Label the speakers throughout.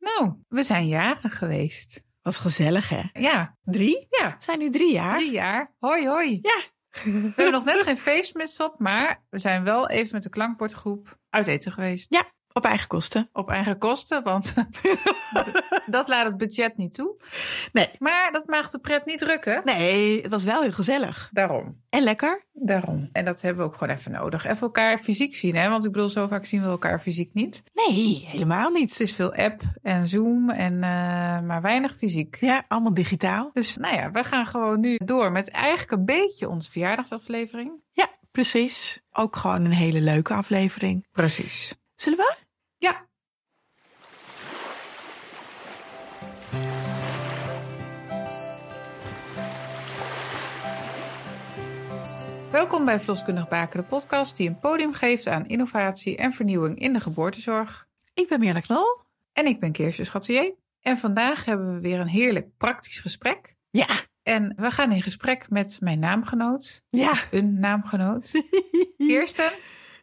Speaker 1: Nou, we zijn jaren geweest.
Speaker 2: Was gezellig, hè?
Speaker 1: Ja,
Speaker 2: Drie?
Speaker 1: ja.
Speaker 2: We zijn nu drie jaar.
Speaker 1: Drie jaar. Hoi, hoi.
Speaker 2: Ja.
Speaker 1: We hebben nog net geen feestmuts op, maar we zijn wel even met de klankbordgroep uit eten geweest.
Speaker 2: Ja, op eigen kosten.
Speaker 1: Op eigen kosten, want dat- dat laat het budget niet toe.
Speaker 2: Nee.
Speaker 1: Maar dat maakt de pret niet drukken.
Speaker 2: Nee, het was wel heel gezellig.
Speaker 1: Daarom.
Speaker 2: En lekker.
Speaker 1: Daarom. En dat hebben we ook gewoon even nodig. Even elkaar fysiek zien, hè? Want ik bedoel, zo vaak zien we elkaar fysiek niet.
Speaker 2: Nee, helemaal niet.
Speaker 1: Het is veel app en Zoom, en, eh, maar weinig fysiek.
Speaker 2: Ja, allemaal digitaal.
Speaker 1: Dus nou ja, we gaan gewoon nu door met eigenlijk een beetje onze verjaardagsaflevering.
Speaker 2: Ja, precies. Ook gewoon een hele leuke aflevering.
Speaker 1: Precies.
Speaker 2: Zullen we?
Speaker 1: Ja. Welkom bij Vloskundig Baken, de podcast die een podium geeft aan innovatie en vernieuwing in de geboortezorg.
Speaker 2: Ik ben Mirna Knol.
Speaker 1: En ik ben Keersje Schatier. En vandaag hebben we weer een heerlijk praktisch gesprek.
Speaker 2: Ja.
Speaker 1: En we gaan in gesprek met mijn naamgenoot,
Speaker 2: Ja.
Speaker 1: een naamgenoot, Kirsten.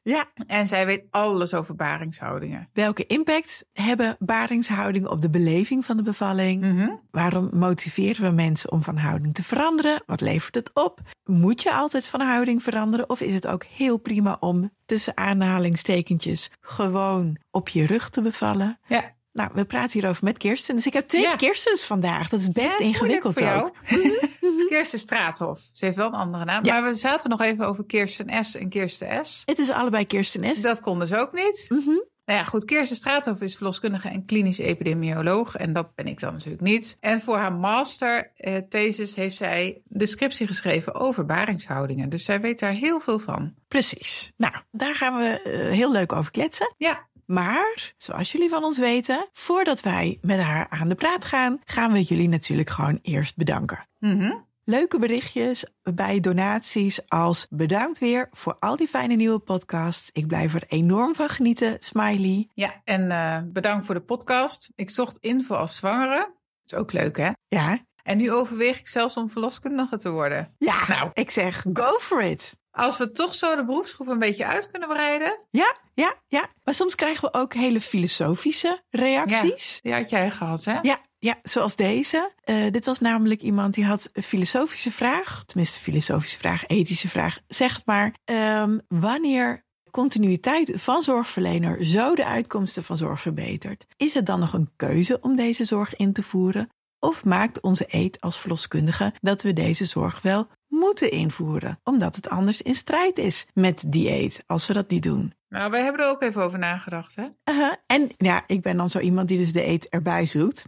Speaker 2: ja.
Speaker 1: En zij weet alles over baringshoudingen.
Speaker 2: Welke impact hebben baringshoudingen op de beleving van de bevalling?
Speaker 1: Mhm.
Speaker 2: Waarom motiveren we mensen om van houding te veranderen? Wat levert het op? Moet je altijd van houding veranderen? Of is het ook heel prima om tussen aanhalingstekentjes gewoon op je rug te bevallen?
Speaker 1: Ja,
Speaker 2: Nou, we praten hierover met Kirsten. Dus ik heb twee
Speaker 1: Ja.
Speaker 2: Kirstens vandaag. Dat is best
Speaker 1: Ja, is moeilijk
Speaker 2: ingewikkeld ook.
Speaker 1: voor jou. Kirsten Straathof. Ze heeft wel een andere naam.
Speaker 2: Ja.
Speaker 1: Maar we zaten nog even over Kirsten S en Kirsten S.
Speaker 2: Het is allebei Kirsten S.
Speaker 1: Dat kon dus ook niet.
Speaker 2: Mhm.
Speaker 1: Nou ja, goed, Kirsten Straathof is verloskundige en klinisch epidemioloog. En dat ben ik dan natuurlijk niet. En voor haar master eh, thesis heeft zij de scriptie geschreven over baringshoudingen. Dus zij weet daar heel veel van.
Speaker 2: Precies. Nou, daar gaan we eh, heel leuk over kletsen.
Speaker 1: Ja,
Speaker 2: Maar, zoals jullie van ons weten, voordat wij met haar aan de praat gaan, gaan we jullie natuurlijk gewoon eerst bedanken.
Speaker 1: mhm.
Speaker 2: Leuke berichtjes bij donaties als bedankt weer voor al die fijne nieuwe podcasts. Ik blijf er enorm van genieten, smiley.
Speaker 1: ja. en eh, bedankt voor de podcast. Ik zocht info als zwangere. Dat is ook leuk, hè?
Speaker 2: Ja,
Speaker 1: En nu overweeg ik zelfs om verloskundige te worden.
Speaker 2: ja.
Speaker 1: Nou.
Speaker 2: ik zeg go for it.
Speaker 1: Als we toch zo de beroepsgroep een beetje uit kunnen breiden.
Speaker 2: Ja, ja, ja. Maar soms krijgen we ook hele filosofische reacties.
Speaker 1: Die had jij gehad, hè?
Speaker 2: Ja, ja zoals deze. Eh, dit was namelijk iemand die had een filosofische vraag. Tenminste, filosofische vraag, ethische vraag. Zeg het maar, Ehm, wanneer continuïteit van zorgverlener zo de uitkomsten van zorg verbetert, is het dan nog een keuze om deze zorg in te voeren? Of maakt onze eet als verloskundige dat we deze zorg wel moeten invoeren, omdat het anders in strijd is met dieet als we dat niet doen?
Speaker 1: Nou, wij hebben er ook even over nagedacht, hè?
Speaker 2: Uh-huh. En ja, ik ben dan zo iemand die dus de eet erbij zoekt.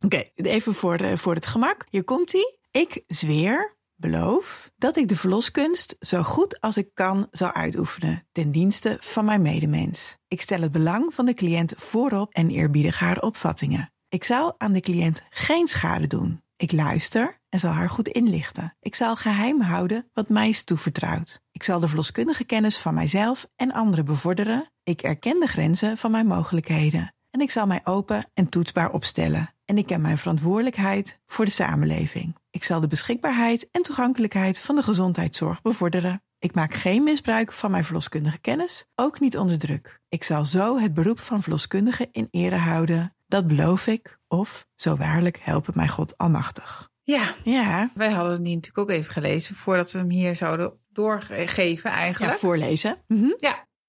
Speaker 2: Oké, even voor, de- voor het gemak. Hier komt ie. Ik zweer, beloof, dat ik de verloskunst zo goed als ik kan zal uitoefenen ten dienste van mijn medemens. Ik stel het belang van de cliënt voorop en eerbiedig haar opvattingen. Ik zal aan de cliënt geen schade doen. Ik luister en zal haar goed inlichten. Ik zal geheim houden wat mij is toevertrouwd. Ik zal de verloskundige kennis van mijzelf en anderen bevorderen. Ik erken de grenzen van mijn mogelijkheden. En ik zal mij open en toetsbaar opstellen. En ik ken mijn verantwoordelijkheid voor de samenleving. Ik zal de beschikbaarheid en toegankelijkheid van de gezondheidszorg bevorderen. Ik maak geen misbruik van mijn verloskundige kennis, ook niet onder druk. Ik zal zo het beroep van verloskundige in ere houden. Dat beloof ik, of zo waarlijk helpen mij God almachtig.
Speaker 1: Ja,
Speaker 2: Ja,
Speaker 1: wij hadden die natuurlijk ook even gelezen voordat we hem hier zouden doorgeven,
Speaker 2: ja
Speaker 1: eigenlijk. Ja,
Speaker 2: voorlezen. Mhm.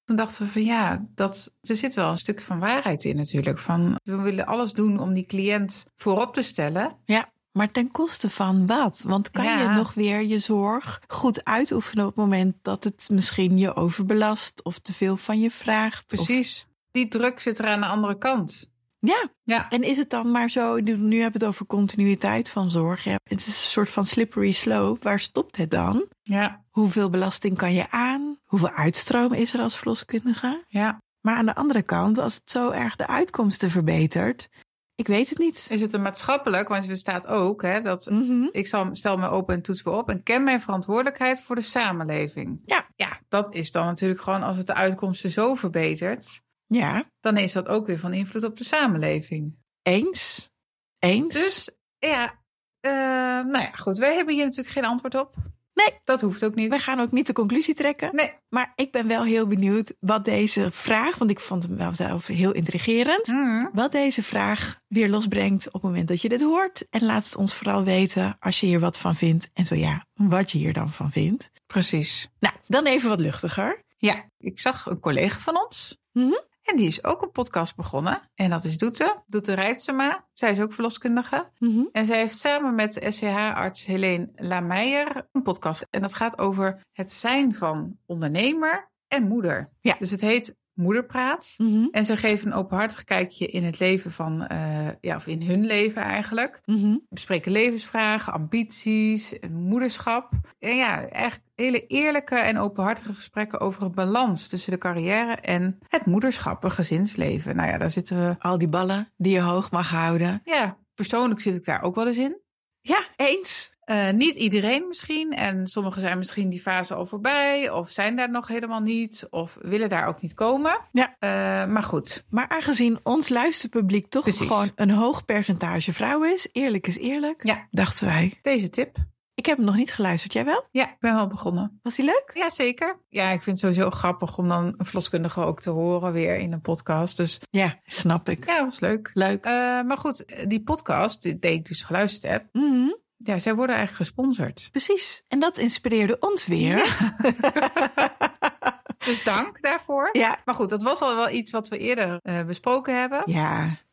Speaker 1: Toen dachten we van ja, dat, er zit wel een stuk van waarheid in natuurlijk. Van, we willen alles doen om die cliënt voorop te stellen.
Speaker 2: Ja, maar ten koste van wat? Want kan
Speaker 1: Ja.
Speaker 2: je nog weer je zorg goed uitoefenen op het moment dat het misschien je overbelast of te veel van je vraagt? of-
Speaker 1: Precies. Die druk zit er aan de andere kant.
Speaker 2: Ja,
Speaker 1: Ja,
Speaker 2: en is het dan maar zo, nu nu hebben we het over continuïteit van zorg. Ja, het is een soort van slippery slope. Waar stopt het dan?
Speaker 1: ja,
Speaker 2: Hoeveel belasting kan je aan? Hoeveel uitstroom is er als verloskundige?
Speaker 1: ja.
Speaker 2: Maar aan de andere kant, als het zo erg de uitkomsten verbetert, ik weet het niet.
Speaker 1: Is het een maatschappelijk, want er staat ook hè, dat
Speaker 2: Mhm.
Speaker 1: Ik zal, stel me open en toets me op en ken mijn verantwoordelijkheid voor de samenleving.
Speaker 2: Ja.
Speaker 1: Ja, dat is dan natuurlijk gewoon als het de uitkomsten zo verbetert,
Speaker 2: Ja,
Speaker 1: dan is dat ook weer van invloed op de samenleving.
Speaker 2: eens. Eens.
Speaker 1: Dus ja, eh, nou ja, goed. Wij hebben hier natuurlijk geen antwoord op.
Speaker 2: Nee,
Speaker 1: Dat hoeft ook niet.
Speaker 2: we gaan ook niet de conclusie trekken.
Speaker 1: Nee.
Speaker 2: Maar ik ben wel heel benieuwd wat deze vraag, want ik vond hem wel zelf heel intrigerend.
Speaker 1: Mhm.
Speaker 2: Wat deze vraag weer losbrengt op het moment dat je dit hoort. En laat het ons vooral weten als je hier wat van vindt. En zo ja, wat je hier dan van vindt.
Speaker 1: Precies.
Speaker 2: Nou, dan even wat luchtiger.
Speaker 1: Ja, ik zag een collega van ons.
Speaker 2: Mhm.
Speaker 1: En die is ook een podcast begonnen. En dat is Doete. Doete Rijtsema. Zij is ook verloskundige.
Speaker 2: Mhm.
Speaker 1: En zij heeft samen met SCH-arts Helene Lameijer een podcast. En dat gaat over het zijn van ondernemer en moeder.
Speaker 2: Ja.
Speaker 1: Dus het heet Moederpraat.
Speaker 2: Mhm.
Speaker 1: En ze geven een openhartig kijkje in het leven van, eh, ja, of in hun leven eigenlijk.
Speaker 2: Mhm.
Speaker 1: bespreken levensvragen, ambities, en moederschap. En ja, eigenlijk hele eerlijke en openhartige gesprekken over een balans tussen de carrière en het moederschap, een gezinsleven. Nou ja, daar zitten we.
Speaker 2: Al die ballen die je hoog mag houden.
Speaker 1: Ja, persoonlijk zit ik daar ook wel eens in.
Speaker 2: Ja, eens.
Speaker 1: Eh, niet iedereen misschien. En sommigen zijn misschien die fase al voorbij. Of zijn daar nog helemaal niet. Of willen daar ook niet komen.
Speaker 2: Ja.
Speaker 1: Eh, maar goed.
Speaker 2: Maar aangezien ons luisterpubliek toch
Speaker 1: Precies.
Speaker 2: gewoon een hoog percentage vrouwen is, eerlijk is eerlijk,
Speaker 1: Ja.
Speaker 2: dachten wij.
Speaker 1: Deze tip.
Speaker 2: Ik heb hem nog niet geluisterd, jij wel?
Speaker 1: Ja, ik ben wel begonnen.
Speaker 2: Was hij leuk?
Speaker 1: Ja, zeker. Ja, ik vind het sowieso grappig om dan een verloskundige ook te horen weer in een podcast. Dus
Speaker 2: Ja, snap ik.
Speaker 1: Ja, was leuk.
Speaker 2: Leuk.
Speaker 1: Eh, maar goed, die podcast die die ik dus geluisterd heb,
Speaker 2: Mhm.
Speaker 1: ja, zij worden eigenlijk gesponsord.
Speaker 2: Precies. En dat inspireerde ons weer. Ja.
Speaker 1: Dus dank daarvoor.
Speaker 2: ja.
Speaker 1: Maar goed, dat was al wel iets wat we eerder eh, besproken hebben.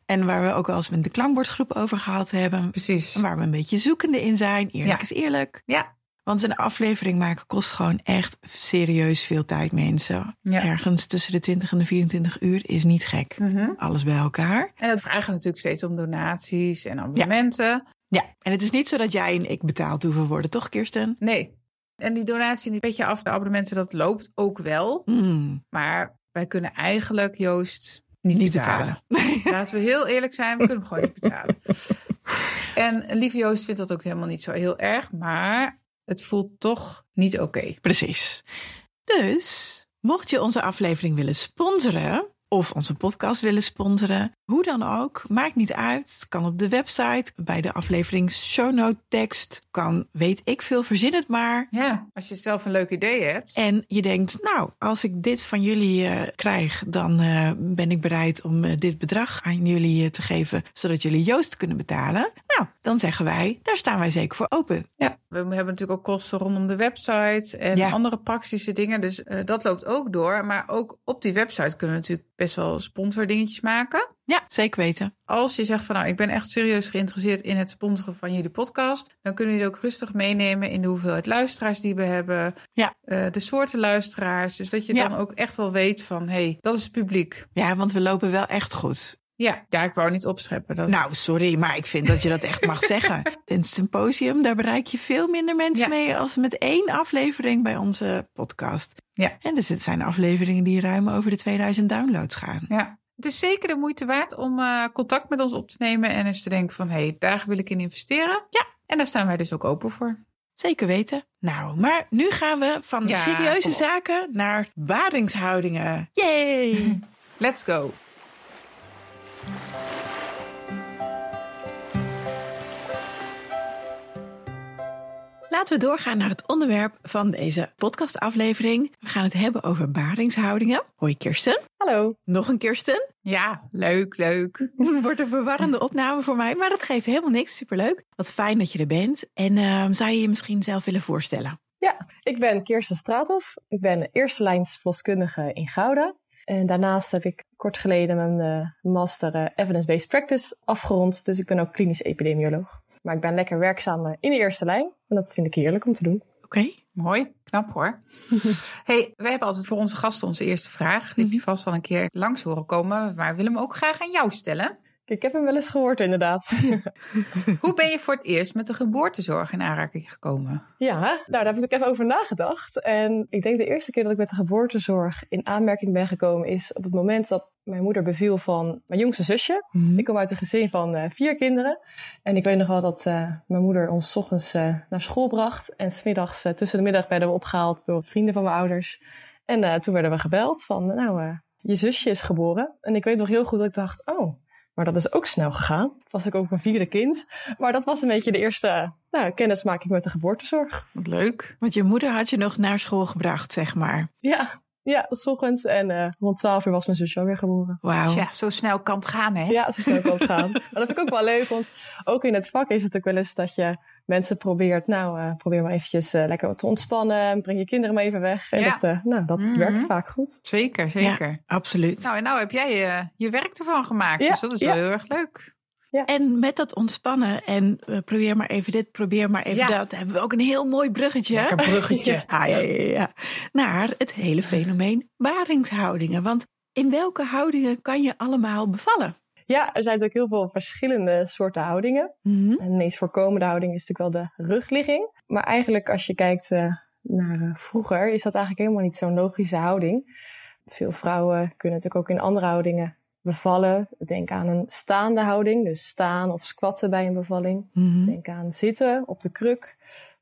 Speaker 2: En waar we ook al eens met de klankbordgroep over gehad hebben.
Speaker 1: Precies.
Speaker 2: En Waar we een beetje zoekende in zijn.
Speaker 1: Ja.
Speaker 2: Eerlijk is eerlijk.
Speaker 1: Ja.
Speaker 2: Want een aflevering maken kost gewoon echt serieus veel tijd, mensen.
Speaker 1: Ja.
Speaker 2: Ergens tussen de 20 en de 24 uur is niet gek.
Speaker 1: Mhm.
Speaker 2: Alles bij elkaar.
Speaker 1: En dat vragen we natuurlijk steeds om donaties en abonnementen.
Speaker 2: Ja. En het is niet zo dat jij en ik betaald hoeven worden, toch, Kirsten?
Speaker 1: Nee. En die donatie een beetje af de abonnementen, dat loopt ook wel.
Speaker 2: Mm,
Speaker 1: Maar wij kunnen eigenlijk, Joost, niet,
Speaker 2: niet
Speaker 1: betalen.
Speaker 2: betalen.
Speaker 1: Laten we heel eerlijk zijn, we kunnen hem gewoon niet betalen. En lieve Joost vindt dat ook helemaal niet zo heel erg, maar het voelt toch niet oké.
Speaker 2: Precies. Dus, mocht je onze aflevering willen sponsoren of onze podcast willen sponsoren, hoe dan ook, maakt niet uit. Het kan op de website, bij de aflevering show note tekst, kan weet ik veel, verzin het maar.
Speaker 1: Ja, als je zelf een leuk idee hebt.
Speaker 2: En je denkt, nou, als ik dit van jullie eh, krijg, dan eh, ben ik bereid om eh, dit bedrag aan jullie eh, te geven, zodat jullie Joost kunnen betalen. Nou, dan zeggen wij, daar staan wij zeker voor open.
Speaker 1: Ja, we hebben natuurlijk ook kosten rondom de website en
Speaker 2: Ja.
Speaker 1: andere praktische dingen. Dus eh, dat loopt ook door. Maar ook op die website kunnen we natuurlijk best wel sponsordingetjes maken.
Speaker 2: Ja, zeker weten.
Speaker 1: Als je zegt van nou, ik ben echt serieus geïnteresseerd in het sponsoren van jullie podcast, dan kunnen jullie ook rustig meenemen in de hoeveelheid luisteraars die we hebben,
Speaker 2: Ja.
Speaker 1: eh, de soorten luisteraars. Dus dat je
Speaker 2: Ja.
Speaker 1: dan ook echt wel weet van hé, hey, dat is het publiek.
Speaker 2: Ja, want we lopen wel echt goed.
Speaker 1: Ja, ja, ik wou niet opscheppen. Dat...
Speaker 2: Nou, sorry, maar ik vind dat je dat echt mag zeggen. Een symposium, daar bereik je veel minder mensen
Speaker 1: Ja.
Speaker 2: mee als met één aflevering bij onze podcast.
Speaker 1: Ja.
Speaker 2: En dus het zijn afleveringen die ruim over de 2000 downloads gaan.
Speaker 1: Ja. Het is zeker de moeite waard om eh, contact met ons op te nemen en eens te denken van hé, hey, daar wil ik in investeren.
Speaker 2: Ja.
Speaker 1: En daar staan wij dus ook open voor.
Speaker 2: Zeker weten. Nou, maar nu gaan we van
Speaker 1: Ja,
Speaker 2: serieuze
Speaker 1: kom op.
Speaker 2: zaken naar badingshoudingen. Yay!
Speaker 1: Let's go.
Speaker 2: Laten we doorgaan naar het onderwerp van deze podcastaflevering. We gaan het hebben over badingshoudingen. Hoi Kirsten.
Speaker 3: Hallo.
Speaker 2: Nog een Kirsten.
Speaker 1: Ja, leuk, leuk.
Speaker 2: Het wordt een verwarrende opname voor mij, maar dat geeft helemaal niks. Superleuk. Wat fijn dat je er bent. En ehm, zou je je misschien zelf willen voorstellen?
Speaker 3: Ik ben Kirsten Straathof. Ik ben eerste lijns verloskundige in Gouda. En daarnaast heb ik kort geleden mijn eh, master eh, evidence-based practice afgerond. Dus ik ben ook klinisch epidemioloog. Maar ik ben lekker werkzaam eh, in de eerste lijn. En dat vind ik heerlijk om te doen.
Speaker 2: Oké.
Speaker 1: Mooi, knap hoor. hey, we hebben altijd voor onze gasten onze eerste vraag. Die heb je vast wel een keer langs horen komen, maar we willen hem ook graag aan jou stellen.
Speaker 3: Ik heb hem wel eens gehoord inderdaad.
Speaker 1: Hoe ben je voor het eerst met de geboortezorg in aanraking gekomen?
Speaker 3: Ja, nou daar heb ik ook even over nagedacht. En ik denk de eerste keer dat ik met de geboortezorg in aanmerking ben gekomen is op het moment dat mijn moeder beviel van mijn jongste zusje. Ik kom uit een gezin van eh, vier kinderen. En ik weet nog wel dat eh, mijn moeder ons 's ochtends eh, naar school bracht. En smiddags, eh, tussen de middag, werden we opgehaald door vrienden van mijn ouders. En eh, toen werden we gebeld van, nou, eh, je zusje is geboren. En ik weet nog heel goed dat ik dacht, oh, maar dat is ook snel gegaan. Was ik ook mijn vierde kind. Maar dat was een beetje de eerste nou, kennismaking met de geboortezorg.
Speaker 1: Wat leuk.
Speaker 2: Want je moeder had je nog naar school gebracht, zeg maar.
Speaker 3: Ja, ja, s ochtends. En eh, rond 12 uur was mijn zusje alweer geboren.
Speaker 2: Wauw.
Speaker 1: Ja, zo snel kan het gaan, hè?
Speaker 3: Ja, zo snel kan het gaan. Maar dat vind ik ook wel leuk, want ook in het vak is het ook wel eens dat je mensen probeert, nou, eh, probeer maar eventjes eh, lekker te ontspannen, breng je kinderen maar even weg. En
Speaker 1: Ja.
Speaker 3: dat, eh, nou, dat
Speaker 1: Mhm.
Speaker 3: werkt vaak goed.
Speaker 1: Zeker, zeker.
Speaker 2: Absoluut.
Speaker 1: Nou, en nou heb jij eh, je werk ervan gemaakt,
Speaker 3: Ja,
Speaker 1: dus dat is
Speaker 3: ja.
Speaker 1: wel heel erg leuk.
Speaker 2: En met dat ontspannen en eh, probeer maar even dit, probeer maar even
Speaker 1: Ja.
Speaker 2: dat, hebben we ook een heel mooi bruggetje.
Speaker 1: Lekker bruggetje.
Speaker 2: Ja, ja, ja, ja. Naar het hele fenomeen baringshoudingen. Want in welke houdingen kan je allemaal bevallen?
Speaker 3: Ja, er zijn natuurlijk heel veel verschillende soorten houdingen.
Speaker 2: Mhm.
Speaker 3: En de meest voorkomende houding is natuurlijk wel de rugligging. Maar eigenlijk als je kijkt eh, naar eh, vroeger, is dat eigenlijk helemaal niet zo'n logische houding. Veel vrouwen kunnen natuurlijk ook in andere houdingen bevallen. Denk aan een staande houding, dus staan of squatten bij een bevalling.
Speaker 2: Mhm.
Speaker 3: Denk aan zitten op de kruk.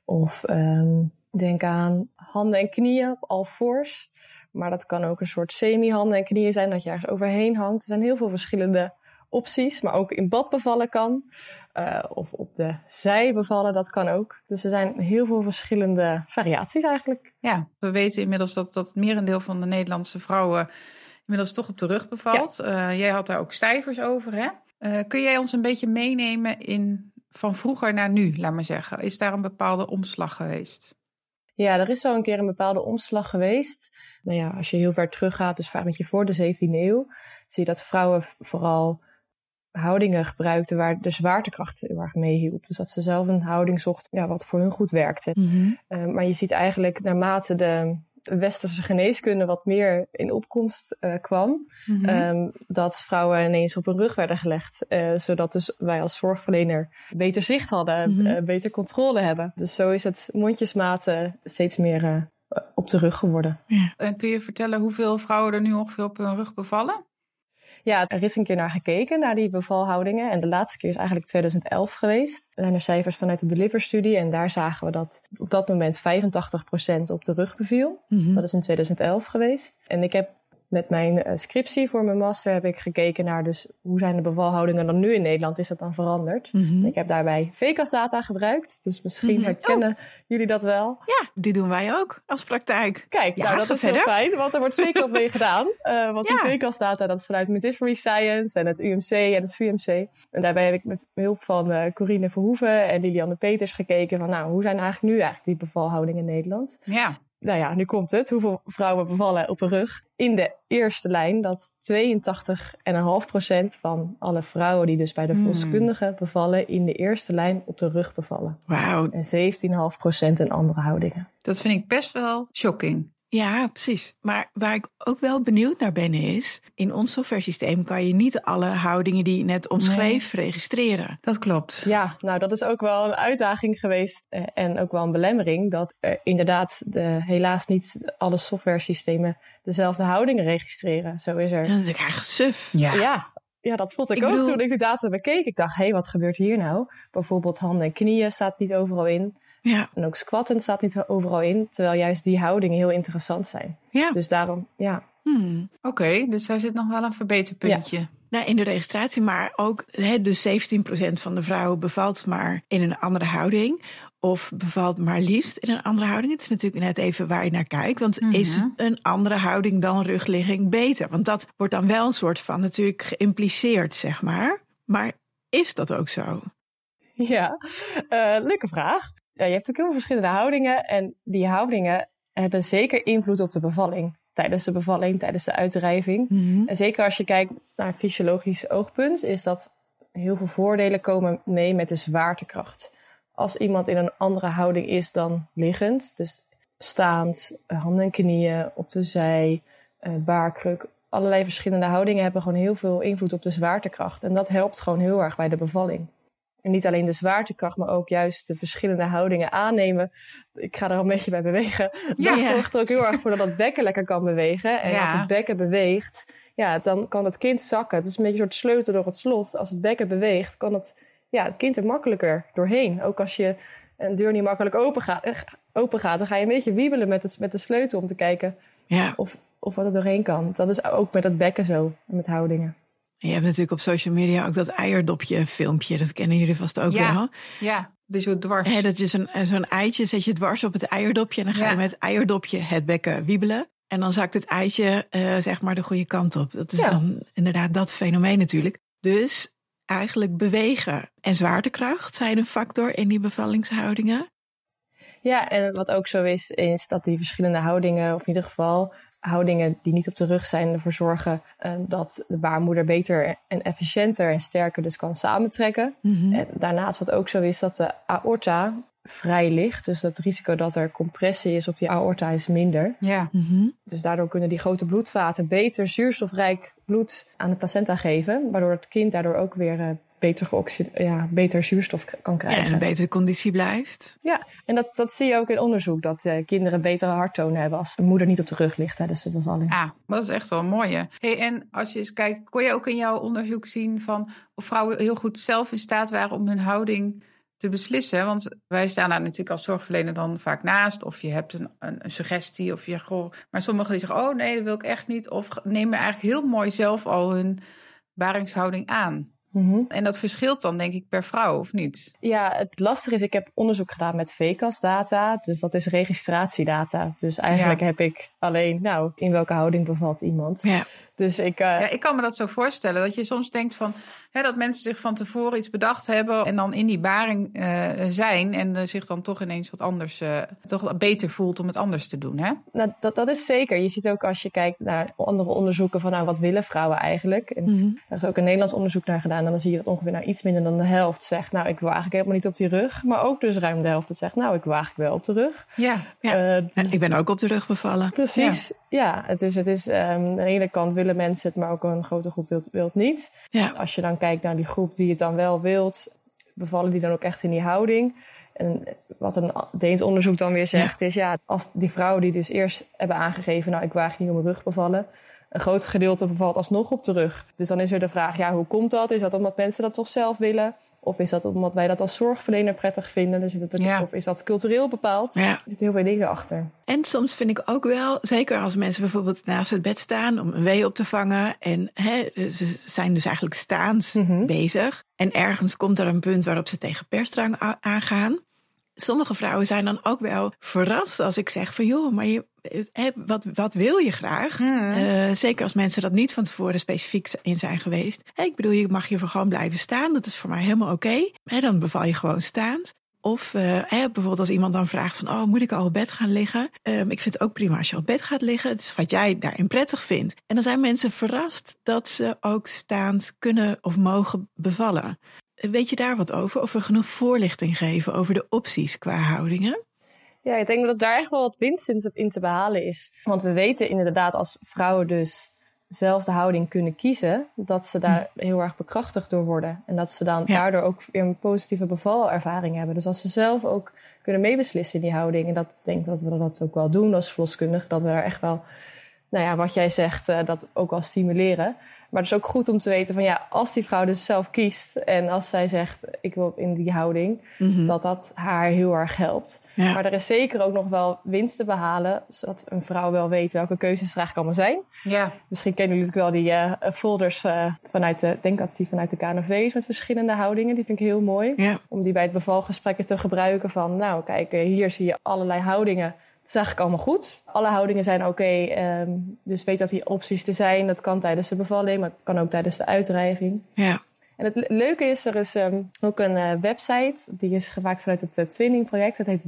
Speaker 3: Of ehm, denk aan handen en knieën op all fours. Maar dat kan ook een soort semi-handen en knieën zijn, dat je ergens overheen hangt. Er zijn heel veel verschillende opties, maar ook in bad bevallen kan. Eh, of op de zij bevallen, dat kan ook. Dus er zijn heel veel verschillende variaties eigenlijk.
Speaker 1: Ja, we weten inmiddels dat, dat het merendeel van de Nederlandse vrouwen inmiddels toch op de rug bevalt. Eh, jij had daar ook cijfers over, hè? Eh, kun jij ons een beetje meenemen in van vroeger naar nu, laat maar zeggen? Is daar een bepaalde omslag geweest?
Speaker 3: Ja, er is wel een keer een bepaalde omslag geweest. Nou ja, als je heel ver teruggaat, dus vaak met je voor de 17e eeuw, zie je dat vrouwen v- vooral houdingen gebruikten waar de zwaartekracht heel erg mee hielp. Dus dat ze zelf een houding zochten ja, wat voor hun goed werkte.
Speaker 2: Mhm.
Speaker 3: Eh, maar je ziet eigenlijk naarmate de westerse geneeskunde wat meer in opkomst eh, kwam,
Speaker 2: Mhm.
Speaker 3: Ehm, dat vrouwen ineens op hun rug werden gelegd. eh, zodat dus wij als zorgverlener beter zicht hadden,
Speaker 2: Mhm.
Speaker 3: eh, beter controle hebben. Dus zo is het mondjesmaten steeds meer eh, op de rug geworden.
Speaker 1: En kun je vertellen hoeveel vrouwen er nu ongeveer op hun rug bevallen?
Speaker 3: Ja, er is een keer naar gekeken, naar die bevalhoudingen. En de laatste keer is eigenlijk 2011 geweest. Er zijn er cijfers vanuit de Deliver-studie. En daar zagen we dat op dat moment 85% op de rug beviel.
Speaker 2: Mhm.
Speaker 3: Dat is in 2011 geweest. En ik heb met mijn eh, scriptie voor mijn master heb ik gekeken naar dus hoe zijn de bevalhoudingen dan nu in Nederland? Is dat dan veranderd?
Speaker 2: Mhm.
Speaker 1: eh.
Speaker 3: Ik heb daarbij VCAS data gebruikt, dus misschien
Speaker 2: Mhm.
Speaker 3: herkennen jullie dat wel.
Speaker 2: Ja, die doen wij ook als praktijk.
Speaker 3: Kijk,
Speaker 2: Ja,
Speaker 3: nou dat
Speaker 2: ga
Speaker 3: is heel
Speaker 2: verder.
Speaker 3: fijn, want er wordt zeker wat mee gedaan. Eh, want
Speaker 2: Ja.
Speaker 3: die VCAS data, dat is vanuit Midwifery Science en het UMC en het VUMC. En daarbij heb ik met hulp van eh Corine Verhoeven en Lilianne Peters gekeken van nou, hoe zijn eigenlijk nu eigenlijk die bevalhoudingen in Nederland?
Speaker 1: Ja,
Speaker 3: nou ja, nu komt het. Hoeveel vrouwen bevallen op een rug? In de eerste lijn dat 82,5% van alle vrouwen die dus bij de
Speaker 1: Hmm.
Speaker 3: volkskundige bevallen, in de eerste lijn op de rug bevallen.
Speaker 2: Wauw.
Speaker 3: En 17,5% in andere houdingen.
Speaker 1: dat vind ik best wel shocking.
Speaker 2: Ja, precies. Maar waar ik ook wel benieuwd naar ben is, in ons softwaresysteem kan je niet alle houdingen die je net omschreef registreren.
Speaker 1: Dat klopt.
Speaker 3: Ja, nou dat is ook wel een uitdaging geweest eh, en ook wel een belemmering. Dat er inderdaad de, helaas niet alle software systemen dezelfde houdingen registreren. Zo is er.
Speaker 2: Dat is natuurlijk eigenlijk suf.
Speaker 1: Ja.
Speaker 3: Ja, ja dat vond ik,
Speaker 2: Ik
Speaker 3: ook
Speaker 2: bedoel-
Speaker 3: toen ik de data bekeek. Ik dacht, hé, wat gebeurt hier nou? Bijvoorbeeld handen en knieën staat niet overal in.
Speaker 2: Ja,
Speaker 3: En ook squatten staat niet overal in. Terwijl juist die houdingen heel interessant zijn.
Speaker 2: ja.
Speaker 3: Dus daarom, ja.
Speaker 2: Hmm.
Speaker 1: Oké, dus daar zit nog wel een verbeterpuntje.
Speaker 2: Nou, in de registratie, maar ook hè, dus 17% van de vrouwen bevalt maar in een andere houding. Of bevalt maar liefst in een andere houding. Het is natuurlijk net even waar je naar kijkt. Want is een andere houding dan rugligging beter? Want dat wordt dan wel een soort van natuurlijk geïmpliceerd, zeg maar. Maar is dat ook zo?
Speaker 3: Ja, Eh, leuke vraag. Ja, je hebt ook heel veel verschillende houdingen. En die houdingen hebben zeker invloed op de bevalling. Tijdens de bevalling, tijdens de uitdrijving.
Speaker 2: Mhm.
Speaker 3: En zeker als je kijkt naar een fysiologisch oogpunt, is dat heel veel voordelen komen mee met de zwaartekracht. Als iemand in een andere houding is dan liggend, dus staand, eh, handen en knieën, op de zij, eh, baarkruk, allerlei verschillende houdingen hebben gewoon heel veel invloed op de zwaartekracht. En dat helpt gewoon heel erg bij de bevalling. En niet alleen de zwaartekracht, maar ook juist de verschillende houdingen aannemen. Ik ga er al een beetje bij bewegen.
Speaker 1: Ja.
Speaker 3: Dat zorgt er ook heel erg voor dat dat bekken lekker kan bewegen. En
Speaker 1: Ja.
Speaker 3: als het bekken beweegt, ja, dan kan het kind zakken. Het is een beetje een soort sleutel door het slot. Als het bekken beweegt, kan het, ja, het kind er makkelijker doorheen. Ook als je een deur niet makkelijk open gaat, eh, open gaat dan ga je een beetje wiebelen met, het, met de sleutel om te kijken
Speaker 2: Ja,
Speaker 3: of, of wat er doorheen kan. Dat is ook met dat bekken zo, en met houdingen.
Speaker 2: en je hebt natuurlijk op social media ook dat eierdopje filmpje. Dat kennen jullie vast ook
Speaker 1: Ja.
Speaker 2: wel.
Speaker 1: Ja, Dus zo dwars.
Speaker 2: Hè, dat je zo'n eh, zo'n eitje zet je dwars op het eierdopje en dan ga
Speaker 1: Ja.
Speaker 2: je met het eierdopje het bekken wiebelen. En dan zakt het eitje eh, zeg maar de goede kant op. Dat is
Speaker 3: Ja.
Speaker 2: dan inderdaad dat fenomeen natuurlijk. Dus eigenlijk bewegen en zwaartekracht zijn een factor in die bevallingshoudingen.
Speaker 3: Ja, en wat ook zo is, is dat die verschillende houdingen, of in ieder geval houdingen die niet op de rug zijn, ervoor zorgen eh, dat de baarmoeder beter en efficiënter en sterker dus kan samentrekken.
Speaker 2: Mhm.
Speaker 3: En daarnaast wat ook zo is, dat de aorta vrij ligt. Dus dat risico dat er compressie is op die aorta is minder.
Speaker 1: Ja.
Speaker 2: Mhm.
Speaker 3: Dus daardoor kunnen die grote bloedvaten beter zuurstofrijk bloed aan de placenta geven. Waardoor het kind daardoor ook weer eh, beter, geoxide- ja, beter zuurstof k- kan
Speaker 2: Ja,
Speaker 3: krijgen.
Speaker 2: en een betere conditie blijft.
Speaker 3: Ja, en dat, dat zie je ook in onderzoek. Dat eh, kinderen betere harttonen hebben als de moeder niet op de rug ligt tijdens de bevalling.
Speaker 1: Ah, dat is echt wel mooi. Hè? Hey, en als je eens kijkt, kon je ook in jouw onderzoek zien van of vrouwen heel goed zelf in staat waren om hun houding te beslissen? Want wij staan daar natuurlijk als zorgverlener dan vaak naast. Of je hebt een, een, een suggestie of je goh. Maar sommigen die zeggen, oh nee, dat wil ik echt niet. Of nemen eigenlijk heel mooi zelf al hun baringshouding aan.
Speaker 3: Mhm.
Speaker 1: En dat verschilt dan denk ik per vrouw, of niet?
Speaker 3: Ja, het lastige is, ik heb onderzoek gedaan met VCAS-data. Dus dat is registratiedata. Dus eigenlijk
Speaker 1: Ja.
Speaker 3: heb ik alleen, nou, in welke houding bevalt iemand.
Speaker 2: Ja.
Speaker 3: Dus ik, eh,
Speaker 1: Ja, ik kan me dat zo voorstellen. Dat je soms denkt van hè, dat mensen zich van tevoren iets bedacht hebben en dan in die baring eh, zijn en eh, zich dan toch ineens wat anders, eh, toch wat beter voelt om het anders te doen. Hè?
Speaker 3: nou, dat, dat is zeker. Je ziet ook als je kijkt naar andere onderzoeken van, nou, wat willen vrouwen eigenlijk? En
Speaker 2: Mhm.
Speaker 3: Er is ook een Nederlands onderzoek naar gedaan. En dan zie je dat ongeveer nou iets minder dan de helft zegt, nou, ik wil eigenlijk helemaal niet op die rug. Maar ook dus ruim de helft dat zegt, nou, ik wil eigenlijk wel op de rug.
Speaker 1: Ja,
Speaker 2: Ja.
Speaker 3: Eh,
Speaker 2: Ja, ik ben ook op de rug bevallen.
Speaker 3: Precies, ja. het is, het is ehm, aan de ene kant willen mensen het, maar ook een grote groep wil wil het niet.
Speaker 2: Ja.
Speaker 3: Als je dan kijkt naar die groep die het dan wel wilt, bevallen die dan ook echt in die houding? En wat een Deens onderzoek dan weer zegt, is ja, als die vrouwen die dus eerst hebben aangegeven, nou ik waag niet om mijn rug bevallen, een groot gedeelte bevalt alsnog op de rug. Dus dan is er de vraag, ja, hoe komt dat? Is dat omdat mensen dat toch zelf willen? Of is dat omdat wij dat als zorgverlener prettig vinden? Dus het,
Speaker 1: Ja.
Speaker 3: Of is dat cultureel bepaald?
Speaker 2: Ja.
Speaker 3: Er zitten heel veel dingen achter.
Speaker 2: En soms vind ik ook wel, zeker als mensen bijvoorbeeld naast het bed staan om een wee op te vangen. En hè, ze zijn dus eigenlijk staans
Speaker 3: Mhm.
Speaker 2: bezig. En ergens komt er een punt waarop ze tegen perstrang a- aangaan. Sommige vrouwen zijn dan ook wel verrast als ik zeg van joh, maar je, hè, wat, wat wil je graag? Eh, zeker als mensen dat niet van tevoren specifiek in zijn geweest. Hè, ik bedoel, je mag hier gewoon blijven staan. Dat is voor mij helemaal oké. Hè, dan beval je gewoon staand. Of eh, hè, bijvoorbeeld als iemand dan vraagt van, oh, moet ik al op bed gaan liggen? Ehm, ik vind het ook prima als je op bed gaat liggen. Het is wat jij daarin prettig vindt. En dan zijn mensen verrast dat ze ook staand kunnen of mogen bevallen. Eh, Weet je daar wat over? Of we genoeg voorlichting geven over de opties qua houdingen?
Speaker 3: Ja, ik denk dat daar echt wel wat winst in te- in te behalen is. Want we weten inderdaad als vrouwen dus zelf de houding kunnen kiezen, dat ze daar heel erg bekrachtigd door worden. En dat ze dan
Speaker 2: Ja.
Speaker 3: daardoor ook weer een positieve bevalervaring hebben. Dus als ze zelf ook kunnen meebeslissen in die houding. En dat ik denk dat we dat ook wel doen als verloskundige. Dat we daar echt wel, nou ja, wat jij zegt, eh, dat ook wel stimuleren. Maar het is ook goed om te weten van ja, als die vrouw dus zelf kiest. En als zij zegt, ik wil in die houding. Dat dat haar heel erg helpt.
Speaker 2: Mhm. Ja.
Speaker 3: Maar er is zeker ook nog wel winst te behalen, zodat een vrouw wel weet welke keuzes er eigenlijk allemaal zijn.
Speaker 1: ja.
Speaker 3: Misschien kennen jullie natuurlijk wel die eh, folders eh, vanuit de, ik denk dat die vanuit de KNV is met verschillende houdingen. Die vind ik heel mooi.
Speaker 2: Ja,
Speaker 3: Om die bij het bevalgesprekken te gebruiken van, nou kijk, eh, hier zie je allerlei houdingen. Het is eigenlijk allemaal goed. Alle houdingen zijn oké, ehm, dus weet dat die opties er zijn. Dat kan tijdens de bevalling, maar het kan ook tijdens de uitdrijving.
Speaker 2: ja.
Speaker 3: En het le- leuke is, er is ehm, ook een eh, website. Die is gemaakt vanuit het eh, Twinning-project. Dat heet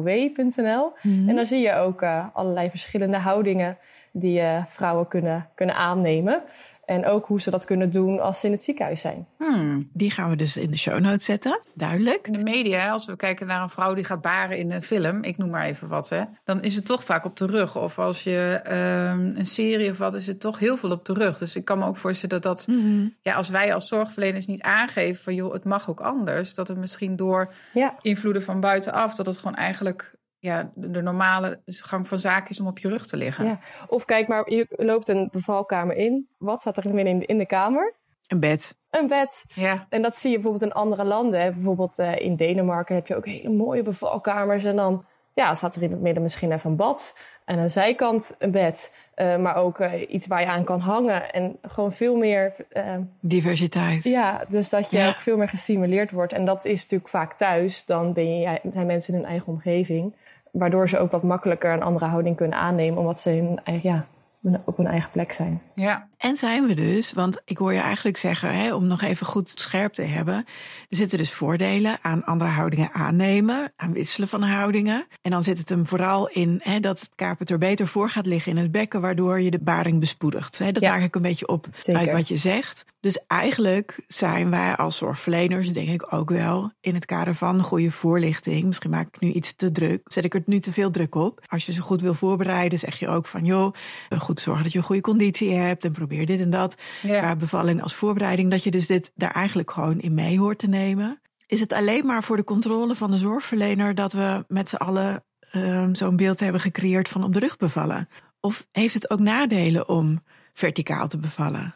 Speaker 3: wow.nl. En daar zie je ook eh, allerlei verschillende houdingen die eh, vrouwen kunnen, kunnen aannemen. En ook hoe ze dat kunnen doen als ze in het ziekenhuis zijn.
Speaker 1: Hmm.
Speaker 2: Die gaan we dus in de show notes zetten. Duidelijk.
Speaker 1: In de media, als we kijken naar een vrouw die gaat baren in een film, ik noem maar even wat, hè, dan is het toch vaak op de rug. Of als je ehm, een serie of wat, is het toch heel veel op de rug. Dus ik kan me ook voorstellen dat dat ja, als wij als zorgverleners niet aangeven van joh, het mag ook anders, dat het misschien door
Speaker 3: Ja,
Speaker 1: invloeden van buitenaf, dat het gewoon eigenlijk ja, de de normale gang van zaken is om op je rug te liggen.
Speaker 3: ja. Of kijk maar, je loopt een bevalkamer in. Wat staat er midden in de, in de kamer?
Speaker 2: Een bed.
Speaker 3: Een bed.
Speaker 1: Ja.
Speaker 3: En dat zie je bijvoorbeeld in andere landen. Hè. Bijvoorbeeld eh, in Denemarken heb je ook hele mooie bevalkamers. En dan ja, staat er in het midden misschien even een bad. Eh, aan de zijkant een bed, eh, maar ook eh, iets waar je aan kan hangen. En gewoon veel meer. eh,
Speaker 2: Diversiteit.
Speaker 3: ja, dus dat je
Speaker 2: Ja.
Speaker 3: ook veel meer gestimuleerd wordt. En dat is natuurlijk vaak thuis. Dan ben je, zijn mensen in hun eigen omgeving. Waardoor ze ook wat makkelijker een andere houding kunnen aannemen, omdat ze hun, eigen- ja, hun- op hun eigen plek zijn.
Speaker 1: Ja,
Speaker 2: En zijn we dus, want ik hoor je eigenlijk zeggen, hè, om nog even goed scherp te hebben, er zitten dus voordelen aan andere houdingen aannemen, aan wisselen van houdingen. En dan zit het hem vooral in hè, dat het kapert er beter voor gaat liggen in het bekken, waardoor je de baring bespoedigt. Hè, dat
Speaker 3: Ja.
Speaker 2: maak ik een beetje op
Speaker 3: Zeker.
Speaker 2: uit wat je zegt. Dus eigenlijk zijn wij als zorgverleners, denk ik ook wel, in het kader van goede voorlichting. Misschien maak ik het nu iets te druk. Zet ik er nu te veel druk op. Als je ze goed wil voorbereiden, zeg je ook van joh, eh, goed zorgen dat je een goede conditie hebt en probeer dit en dat.
Speaker 1: Ja.
Speaker 2: Qua bevalling als voorbereiding, dat je dus dit daar eigenlijk gewoon in mee hoort te nemen. Is het alleen maar voor de controle van de zorgverlener dat we met z'n allen ehm, zo'n beeld hebben gecreëerd van op de rug bevallen? Of heeft het ook nadelen om verticaal te bevallen?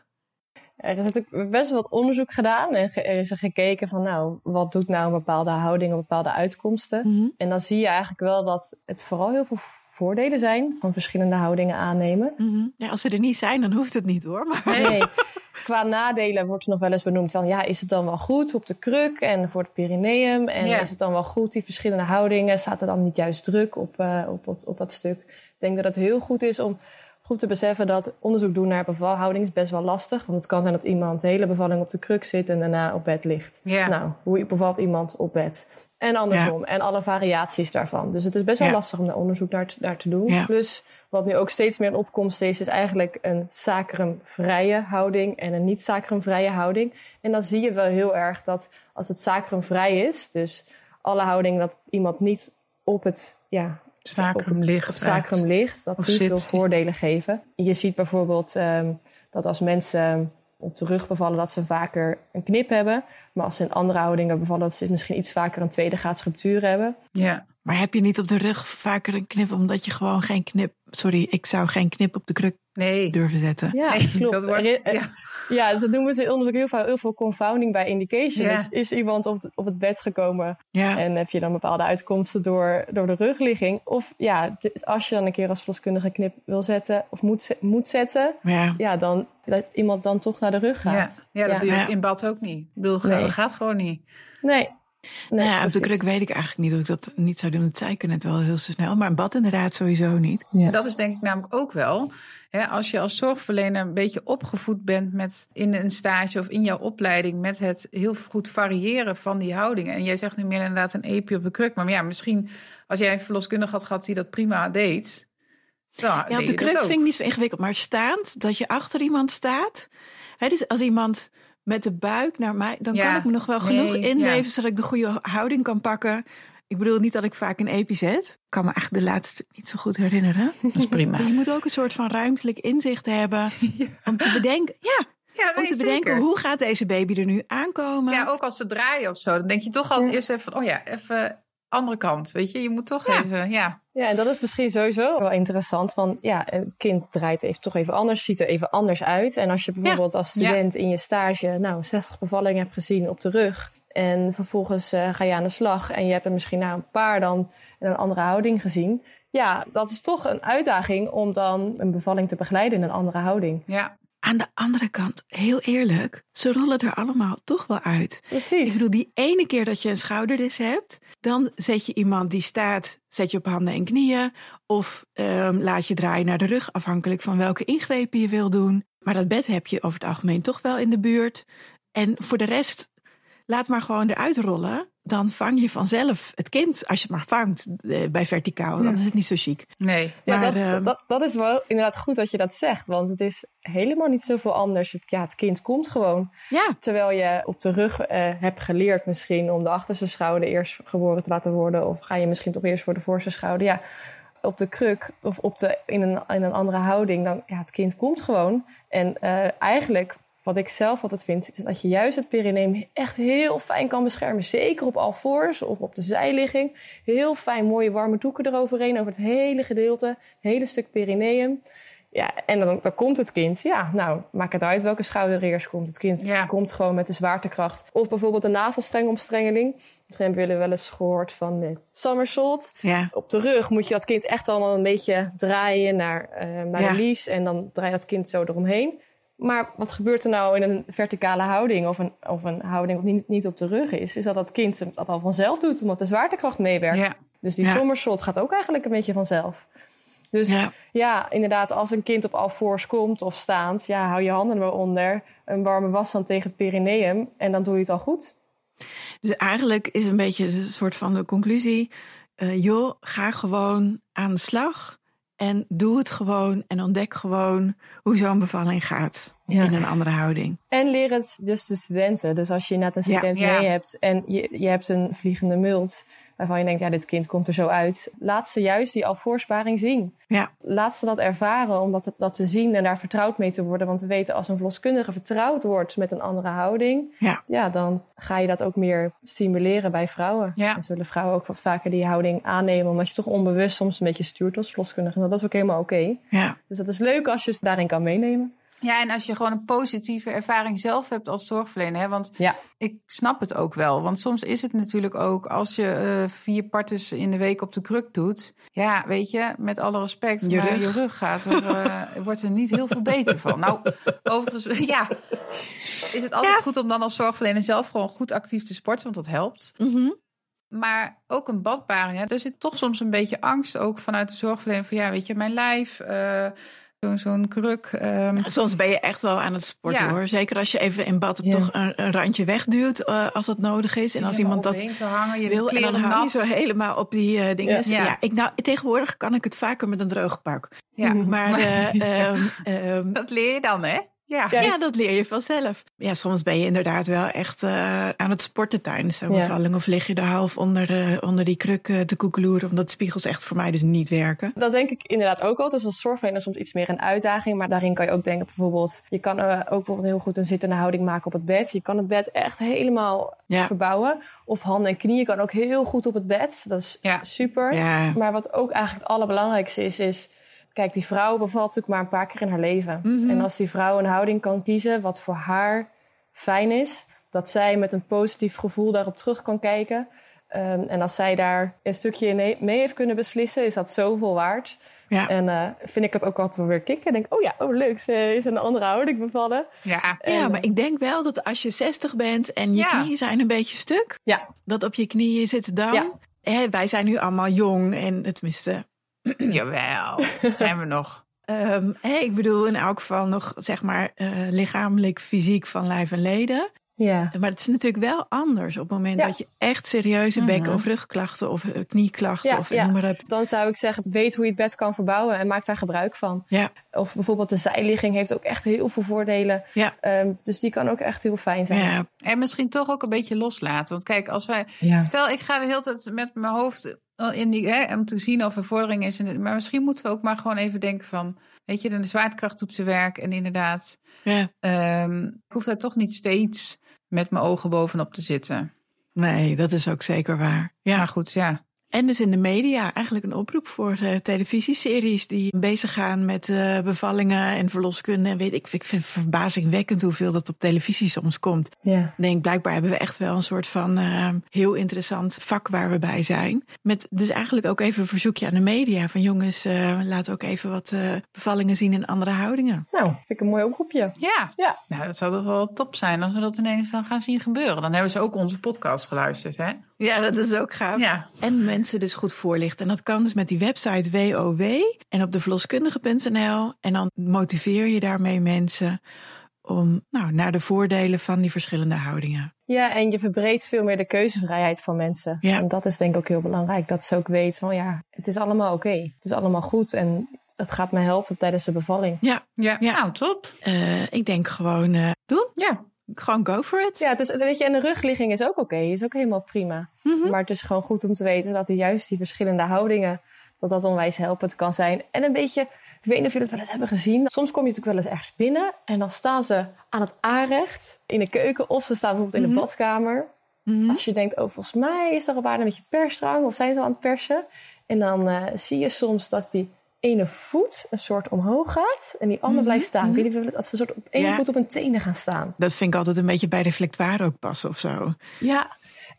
Speaker 3: Er is natuurlijk best wel wat onderzoek gedaan en ge- er is er gekeken van, nou, wat doet nou een bepaalde houding, een bepaalde uitkomsten? En dan zie je eigenlijk wel dat het vooral heel veel voordelen zijn van verschillende houdingen aannemen.
Speaker 2: Mhm. Ja, als ze er niet zijn, dan hoeft het niet hoor. Maar
Speaker 3: Nee. Qua nadelen wordt er nog wel eens benoemd van, ja, is het dan wel goed op de kruk en voor het perineum? En
Speaker 1: Ja.
Speaker 3: is het dan wel goed, die verschillende houdingen? Staat er dan niet juist druk op, eh, op, op, op dat stuk? Ik denk dat het heel goed is om goed te beseffen dat onderzoek doen naar bevalhouding is best wel lastig. Want het kan zijn dat iemand de hele bevalling op de kruk zit en daarna op bed ligt.
Speaker 1: Ja.
Speaker 3: Nou, hoe bevalt iemand op bed? En andersom. En alle variaties daarvan. Dus het is best wel
Speaker 2: Ja.
Speaker 3: lastig om daar onderzoek naar te, naar te doen.
Speaker 2: Ja.
Speaker 3: Plus, wat nu ook steeds meer in opkomst is, is eigenlijk een sacrumvrije houding en een niet-sacrumvrije houding. En dan zie je wel heel erg dat als het sacrumvrij is, dus alle houding dat iemand niet op het, ja,
Speaker 1: sacrum
Speaker 3: op het
Speaker 1: licht.
Speaker 3: sacrum ligt, dat
Speaker 1: Of
Speaker 3: die
Speaker 1: zit.
Speaker 3: veel voordelen geven. Je ziet bijvoorbeeld ehm, dat als mensen ehm, op de rug bevallen, dat ze vaker een knip hebben. Maar als ze in andere houdingen bevallen, dat ze misschien iets vaker een tweede graad ruptuur hebben.
Speaker 1: Ja.
Speaker 2: Maar heb je niet op de rug vaker een knip omdat je gewoon geen knip. Sorry, ik zou geen knip op de kruk
Speaker 1: Nee.
Speaker 2: durven zetten.
Speaker 3: Ja,
Speaker 1: Nee,
Speaker 3: klopt. eh,
Speaker 1: dat
Speaker 3: Er i-
Speaker 1: wordt, ja.
Speaker 3: Ja, dus dat doen we in het onderzoek heel veel, heel veel confounding bij indication.
Speaker 1: Ja.
Speaker 3: Dus is iemand op, de- op het bed gekomen
Speaker 2: Ja.
Speaker 3: en heb je dan bepaalde uitkomsten door, door de rugligging? Of ja, het is- als je dan een keer als verloskundige knip wil zetten of moet, ze- moet zetten,
Speaker 2: ja.
Speaker 3: ja, dan dat iemand dan toch naar de rug
Speaker 1: Ja.
Speaker 3: gaat.
Speaker 1: ja, dat
Speaker 3: Ja.
Speaker 1: doe je
Speaker 2: Ja.
Speaker 1: in bad ook niet. Ik bedoel,
Speaker 3: Nee.
Speaker 1: dat gaat gewoon niet.
Speaker 3: Nee. nee
Speaker 2: Nou ja, op de
Speaker 3: precies.
Speaker 2: kruk weet ik eigenlijk niet of ik dat niet zou doen. Dat zei ik er net wel heel zo snel. Maar een bad inderdaad sowieso niet.
Speaker 3: Ja.
Speaker 1: Dat is denk ik namelijk ook wel. Hè, als je als zorgverlener een beetje opgevoed bent met in een stage of in jouw opleiding met het heel goed variëren van die houdingen. En jij zegt nu meer inderdaad een epi op de kruk. Maar ja, misschien als jij een verloskundige had gehad die dat prima deed. Nou,
Speaker 2: Ja, op de kruk vind ik niet zo ingewikkeld. Maar staand, dat je achter iemand staat. Hè, dus als iemand met de buik naar mij. dan
Speaker 1: Ja.
Speaker 2: kan ik me nog wel
Speaker 1: Nee,
Speaker 2: genoeg
Speaker 1: ja.
Speaker 2: inleven. zodat ik de goede houding kan pakken. Ik bedoel niet dat ik vaak een epi zet. Ik kan me eigenlijk de laatste niet zo goed herinneren.
Speaker 1: Dat is prima.
Speaker 2: Dus je moet ook een soort van ruimtelijk inzicht hebben. Om te bedenken, ja,
Speaker 1: Ja,
Speaker 2: om
Speaker 1: nee,
Speaker 2: te bedenken
Speaker 1: zeker.
Speaker 2: hoe eh, gaat deze baby er nu aankomen.
Speaker 1: Ja, ook als ze draaien of zo. Dan denk je toch altijd eerst even van, oh ja, even andere kant. Weet je, je moet toch even, ja.
Speaker 3: Ja, en dat is misschien sowieso wel interessant. Want ja, een kind draait even, toch even anders, ziet er even anders uit. En als je bijvoorbeeld als
Speaker 1: Ja.
Speaker 3: student in je stage nou 60 bevallingen hebt gezien op de rug. En vervolgens eh, ga je aan de slag en je hebt er misschien na een paar dan in een andere houding gezien. Ja, dat is toch een uitdaging om dan een bevalling te begeleiden in een andere houding.
Speaker 1: Ja,
Speaker 2: Aan de andere kant, heel eerlijk, ze rollen er allemaal toch wel uit. Ik
Speaker 3: Precies.
Speaker 2: bedoel, die ene keer dat je een schouderdis hebt, dan zet je iemand die staat, zet je op handen en knieën. Of ehm, laat je draaien naar de rug, afhankelijk van welke ingrepen je wil doen. Maar dat bed heb je over het algemeen toch wel in de buurt. En voor de rest, laat maar gewoon eruit rollen. Dan vang je vanzelf het kind, als je het maar vangt, eh, bij verticaal. Dan is het niet zo chic.
Speaker 1: nee.
Speaker 3: Ja,
Speaker 2: Maar,
Speaker 3: dat,
Speaker 2: ehm,
Speaker 3: dat, dat is wel inderdaad goed dat je dat zegt. Want het is helemaal niet zoveel anders. Het, ja, het kind komt gewoon.
Speaker 2: Ja,
Speaker 3: Terwijl je op de rug eh, hebt geleerd misschien om de achterste schouder eerst geboren te laten worden. Of ga je misschien toch eerst voor de voorste schouder. Ja, op de kruk of op de, in, een, in een andere houding. Dan, ja, het kind komt gewoon. En eh, eigenlijk, wat ik zelf altijd vind, is dat je juist het perineum echt heel fijn kan beschermen. Zeker op alvoors of op de zijligging. Heel fijn mooie warme doeken eroverheen over het hele gedeelte. hele stuk perineum Ja, en dan, dan komt het kind. Ja, nou, maak het uit welke schouder eerst komt. Het kind
Speaker 1: Ja.
Speaker 3: komt gewoon met de zwaartekracht. Of bijvoorbeeld een navelstrengomstrengeling. Misschien hebben jullie wel eens gehoord van de somersault.
Speaker 2: Ja.
Speaker 3: Op de rug moet je dat kind echt allemaal een beetje draaien naar, eh, naar
Speaker 2: Ja.
Speaker 3: de lies. En dan draai je dat kind zo eromheen. Maar wat gebeurt er nou in een verticale houding of een, of een houding die niet, niet op de rug is? Is dat dat kind dat al vanzelf doet, omdat de zwaartekracht meewerkt.
Speaker 1: Ja.
Speaker 3: Dus die
Speaker 2: Ja.
Speaker 3: somersault gaat ook eigenlijk een beetje vanzelf. Dus
Speaker 2: Ja.
Speaker 3: ja. inderdaad, als een kind op al fours komt of staand, ja, hou je handen maar onder. Een warme washand tegen het perineum en dan doe je het al goed.
Speaker 2: Dus eigenlijk is een beetje een soort van de conclusie. eh, joh, ga gewoon aan de slag. En doe het gewoon. En ontdek gewoon hoe zo'n bevalling gaat.
Speaker 3: Ja.
Speaker 2: In een andere houding.
Speaker 3: En leer het dus de studenten. Dus als je net een
Speaker 2: Ja.
Speaker 3: student
Speaker 1: Ja.
Speaker 3: mee hebt en je, je hebt een vliegende mult waarvan je denkt, ja, dit kind komt er zo uit. Laat ze juist die alvoorsparing zien.
Speaker 2: Ja,
Speaker 3: Laat ze dat ervaren om dat, dat te zien en daar vertrouwd mee te worden. Want we weten, als een verloskundige vertrouwd wordt met een andere houding,
Speaker 2: ja.
Speaker 3: ja, dan ga je dat ook meer stimuleren bij vrouwen.
Speaker 1: Ja.
Speaker 3: En zullen vrouwen ook wat vaker die houding aannemen, omdat je toch onbewust soms een beetje stuurt als verloskundige. Nou, dat is ook helemaal oké.
Speaker 2: ja.
Speaker 3: Dus dat is leuk als je ze daarin kan meenemen.
Speaker 1: Ja, en als je gewoon een positieve ervaring zelf hebt als zorgverlener. Hè? Want
Speaker 3: Ja,
Speaker 1: ik snap het ook wel. Want soms is het natuurlijk ook als je eh, vier partes in de week op de kruk doet. Ja, weet je, met alle respect,
Speaker 2: Je
Speaker 1: maar
Speaker 2: rug.
Speaker 1: je rug gaat er, eh, wordt er niet heel veel beter van. Nou, overigens, ja, is het altijd
Speaker 2: Ja.
Speaker 1: goed om dan als zorgverlener zelf gewoon goed actief te sporten, want dat helpt.
Speaker 2: Mhm.
Speaker 1: Maar ook een badbaring. Hè? Er zit toch soms een beetje angst ook vanuit de zorgverlener van ja, weet je, mijn lijf, eh, zo'n zo'n kruk. ehm,
Speaker 2: Soms ben je echt wel aan het sporten
Speaker 1: Ja.
Speaker 2: hoor. Zeker als je even in bad
Speaker 3: Ja.
Speaker 2: toch een, een randje wegduwt eh, als dat nodig is. En als iemand dat
Speaker 1: Te hangen, je
Speaker 2: wil en
Speaker 1: kleren
Speaker 2: dan hang je
Speaker 1: nat.
Speaker 2: zo helemaal op die eh, dingen.
Speaker 3: Ja.
Speaker 2: Dus Ja.
Speaker 1: Ja.
Speaker 2: ik, nou, tegenwoordig kan ik het vaker met een droog pak.
Speaker 1: Ja.
Speaker 2: Maar eh, ehm, ehm,
Speaker 1: Dat leer je dan, hè? Ja.
Speaker 3: Ja.
Speaker 2: ja, dat leer je vanzelf. Ja, soms ben je inderdaad wel echt eh, aan het sporten tijdens zo'n
Speaker 3: Ja.
Speaker 2: bevalling. Of lig je er half onder, eh, onder die kruk eh, te koekeloeren. Omdat spiegels echt voor mij dus niet werken.
Speaker 3: dat denk ik inderdaad ook al. Dus als zorgverlener soms iets meer een uitdaging. Maar daarin kan je ook denken bijvoorbeeld... Je kan eh, ook bijvoorbeeld heel goed een zittende houding maken op het bed. Je kan het bed echt helemaal
Speaker 2: Ja.
Speaker 3: verbouwen. Of handen en knieën kan ook heel goed op het bed. Dat is
Speaker 1: Ja.
Speaker 3: super.
Speaker 2: Ja.
Speaker 3: Maar wat ook eigenlijk het allerbelangrijkste is, is... Kijk, die vrouw bevalt natuurlijk maar een paar keer in haar leven.
Speaker 2: Mhm.
Speaker 3: En als die vrouw een houding kan kiezen wat voor haar fijn is... dat zij met een positief gevoel daarop terug kan kijken... ehm, en als zij daar een stukje in he- mee heeft kunnen beslissen, is dat zoveel waard.
Speaker 2: Ja.
Speaker 3: En eh, vind ik dat ook altijd wel weer kicken. Denk, oh ja, oh leuk, ze is in een andere houding bevallen.
Speaker 1: Ja.
Speaker 3: En,
Speaker 2: ja,
Speaker 3: eh,
Speaker 2: maar ik denk wel dat als je 60 bent en je
Speaker 1: Ja.
Speaker 2: knieën zijn een beetje stuk.
Speaker 3: Ja,
Speaker 2: Dat op je knieën zit dan.
Speaker 3: Ja.
Speaker 2: Hè, wij zijn nu allemaal jong en eh, tenminste...
Speaker 1: Jawel, zijn we nog.
Speaker 2: ehm hè, ik bedoel in elk geval nog zeg maar eh, lichamelijk, fysiek van lijf en leden.
Speaker 3: ja.
Speaker 2: Maar het is natuurlijk wel anders op het moment
Speaker 3: Ja. Mhm.
Speaker 2: dat je echt serieuze bekken- of rugklachten of eh, knieklachten
Speaker 3: Ja,
Speaker 2: of ik
Speaker 3: ja.
Speaker 2: noem maar op.
Speaker 3: Dan zou ik zeggen, weet hoe je het bed kan verbouwen en maak daar gebruik van.
Speaker 2: Ja,
Speaker 3: Of bijvoorbeeld de zijligging heeft ook echt heel veel voordelen.
Speaker 2: ja,
Speaker 3: Ehm, dus die kan ook echt heel fijn zijn.
Speaker 2: ja,
Speaker 1: En misschien toch ook een beetje loslaten. Want kijk, als wij.
Speaker 3: Ja.
Speaker 1: Stel, ik ga de hele tijd met mijn hoofd in die. Hè, om te zien of er vordering is. En, maar misschien moeten we ook maar gewoon even denken van. Weet je, de zwaartekracht doet zijn werk. En inderdaad,
Speaker 2: ja.
Speaker 1: ehm, ik hoef daar toch niet steeds met mijn ogen bovenop te zitten.
Speaker 2: Nee, dat is ook zeker waar. Ja.
Speaker 1: Maar goed, ja.
Speaker 2: En dus in de media eigenlijk een oproep voor eh, televisieseries die bezig gaan met eh, bevallingen en verloskunde. En weet ik, ik vind het verbazingwekkend hoeveel dat op televisie soms komt.
Speaker 3: Ja.
Speaker 2: Ik denk, blijkbaar hebben we echt wel een soort van ehm, heel interessant vak waar we bij zijn. Met dus eigenlijk ook even een verzoekje aan de media. Van jongens, eh laat ook even wat eh, bevallingen zien en andere houdingen.
Speaker 3: Nou, vind ik een mooi oproepje.
Speaker 1: Ja.
Speaker 3: Ja.
Speaker 1: Nou, dat zou toch wel top zijn als we dat ineens dan gaan zien gebeuren. Dan hebben ze ook onze podcast geluisterd, hè?
Speaker 2: Ja, dat is ook gaaf.
Speaker 1: Ja.
Speaker 2: En mensen dus goed voorlichten. En dat kan dus met die website WOW en op de verloskundige.nl. En dan motiveer je daarmee mensen om nou, naar de voordelen van die verschillende houdingen.
Speaker 3: Ja, en je verbreedt veel meer de keuzevrijheid van mensen.
Speaker 2: Ja.
Speaker 3: En dat is denk ik ook heel belangrijk. Dat ze ook weten van ja, het is allemaal oké. Het is allemaal goed en het gaat me helpen tijdens de bevalling.
Speaker 2: Ja,
Speaker 1: Ja.
Speaker 2: Ja.
Speaker 1: Nou, top.
Speaker 2: eh, ik denk gewoon eh, doen.
Speaker 1: Ja.
Speaker 2: Gewoon go for it.
Speaker 3: Ja, het is, weet je, en de rugligging is ook oké. Is ook helemaal prima. Maar het is gewoon goed om te weten dat die, juist die verschillende houdingen... dat dat onwijs helpend kan zijn. En een beetje, ik weet niet of jullie het wel eens hebben gezien... soms kom je natuurlijk wel eens ergens binnen... en dan staan ze aan het aanrecht in de keuken... of ze staan bijvoorbeeld in de badkamer. Als je denkt, oh, volgens mij is er al bijna een beetje persdrang... of zijn ze al aan het persen. En dan eh, zie je soms dat die ene voet een soort omhoog gaat en die ander blijft staan. Ik weet niet of dat ze een soort op één
Speaker 2: Ja.
Speaker 3: voet op hun tenen gaan staan.
Speaker 2: Dat vind ik altijd een beetje bij de reflectoire ook passen of zo.
Speaker 3: Ja.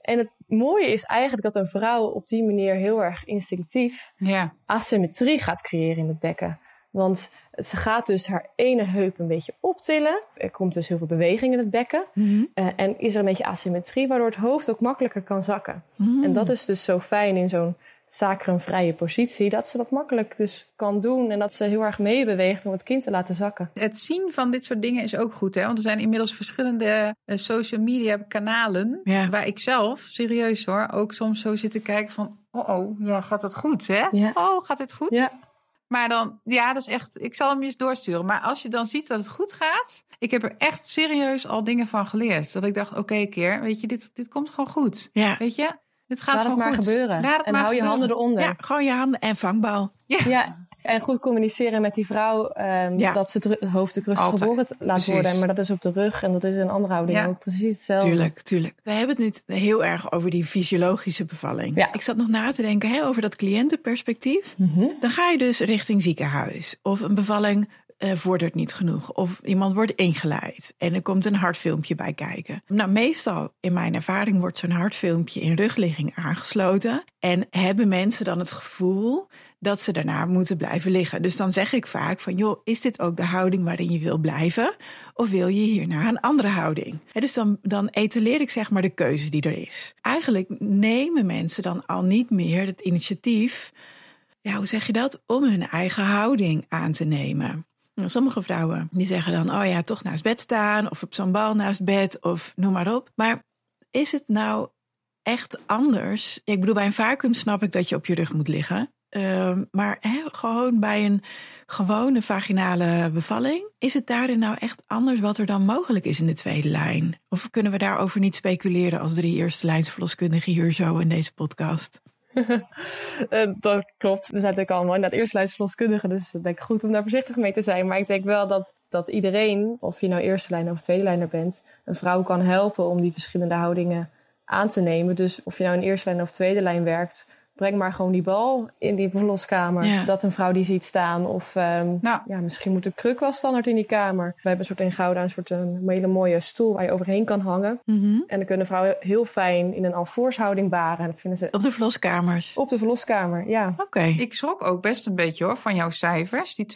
Speaker 3: En het mooie is eigenlijk dat een vrouw op die manier heel erg instinctief
Speaker 1: Ja,
Speaker 3: asymmetrie gaat creëren in het bekken. Want ze gaat dus haar ene heup een beetje optillen. Er komt dus heel veel beweging in het bekken.
Speaker 1: Mhm.
Speaker 3: Eh, en is er een beetje asymmetrie, waardoor het hoofd ook makkelijker kan zakken.
Speaker 1: Mhm.
Speaker 3: En dat is dus zo fijn in zo'n sacrumvrije positie, dat ze dat makkelijk dus kan doen. En dat ze heel erg meebeweegt om het kind te laten zakken.
Speaker 1: het zien van dit soort dingen is ook goed. Hè? Want er zijn inmiddels verschillende eh, social media kanalen.
Speaker 2: Ja.
Speaker 1: Waar ik zelf, serieus hoor, ook soms zo zit te kijken van... Oh, oh ja, gaat het goed, hè?
Speaker 3: Ja.
Speaker 1: Oh, gaat dit goed?
Speaker 3: Ja,
Speaker 1: Maar dan, ja, dat is echt. Ik zal hem je eens doorsturen. Maar als je dan ziet dat het goed gaat. Ik heb er echt serieus al dingen van geleerd. Dat ik dacht, oké, keer, weet je, dit, dit komt gewoon goed.
Speaker 2: Ja.
Speaker 1: Weet je, dit gaat
Speaker 3: laat het
Speaker 1: gewoon
Speaker 3: maar
Speaker 1: goed.
Speaker 3: gebeuren.
Speaker 1: Laat het
Speaker 3: en
Speaker 1: maar
Speaker 3: hou je
Speaker 1: gebeuren.
Speaker 3: handen eronder.
Speaker 2: ja, gewoon je handen en vangbal.
Speaker 1: Ja.
Speaker 3: Ja, en goed communiceren met die vrouw. ehm,
Speaker 2: Ja.
Speaker 3: Dat ze het ru- het hoofd ook rustig
Speaker 1: Altijd.
Speaker 3: geboren t- laat
Speaker 1: Precies.
Speaker 3: worden. Maar dat is op de rug en dat is in een andere houding
Speaker 1: Ja.
Speaker 3: ook precies hetzelfde.
Speaker 2: Tuurlijk, tuurlijk. We hebben het nu heel erg over die fysiologische bevalling.
Speaker 3: Ja.
Speaker 2: Ik zat nog na te denken hè, over dat cliëntenperspectief. Dan ga je dus richting ziekenhuis. Of een bevalling eh, vordert niet genoeg. Of iemand wordt ingeleid. En er komt een hartfilmpje bij kijken. Nou, meestal in mijn ervaring wordt zo'n hartfilmpje in rugligging aangesloten. En hebben mensen dan het gevoel dat ze daarna moeten blijven liggen. Dus dan zeg ik vaak van, joh, is dit ook de houding waarin je wil blijven? Of wil je hierna een andere houding? Hè, dus dan, dan etaleer ik zeg maar de keuze die er is. Eigenlijk nemen mensen dan al niet meer het initiatief ja, hoe zeg je dat? Om hun eigen houding aan te nemen. Nou, sommige vrouwen die zeggen dan, oh ja, toch naast bed staan of op zo'n bal naast bed of noem maar op. Maar is het nou echt anders? Ja, ik bedoel, bij een vacuüm snap ik dat je op je rug moet liggen. Ehm, maar hè, gewoon bij een gewone vaginale bevalling, is het daarin nou echt anders wat er dan mogelijk is in de tweede lijn? Of kunnen we daarover niet speculeren als drie eerste lijnsverloskundigen hier zo in deze podcast?
Speaker 3: Eh, dat klopt. We zijn natuurlijk allemaal inderdaad eerstelijnsverloskundigen. Dus dat denk ik goed om daar voorzichtig mee te zijn. Maar ik denk wel dat, dat iedereen, of je nou eerste lijn of tweede lijner bent, een vrouw kan helpen om die verschillende houdingen aan te nemen. Dus of je nou in eerste lijn of tweede lijn werkt, breng maar gewoon die bal in die verloskamer.
Speaker 2: Ja.
Speaker 3: Dat een vrouw die ziet staan. Of ehm,
Speaker 1: Nou.
Speaker 3: ja, misschien moet de kruk wel standaard in die kamer. We hebben een soort in Gouda een soort ehm, een hele mooie stoel waar je overheen kan hangen.
Speaker 2: Mhm.
Speaker 3: En dan kunnen vrouwen heel fijn in een alvoorshouding baren. En dat vinden ze
Speaker 2: Op de verloskamers.
Speaker 3: op de verloskamer, ja.
Speaker 2: Oké.
Speaker 1: Ik schrok ook best een beetje hoor van jouw cijfers, die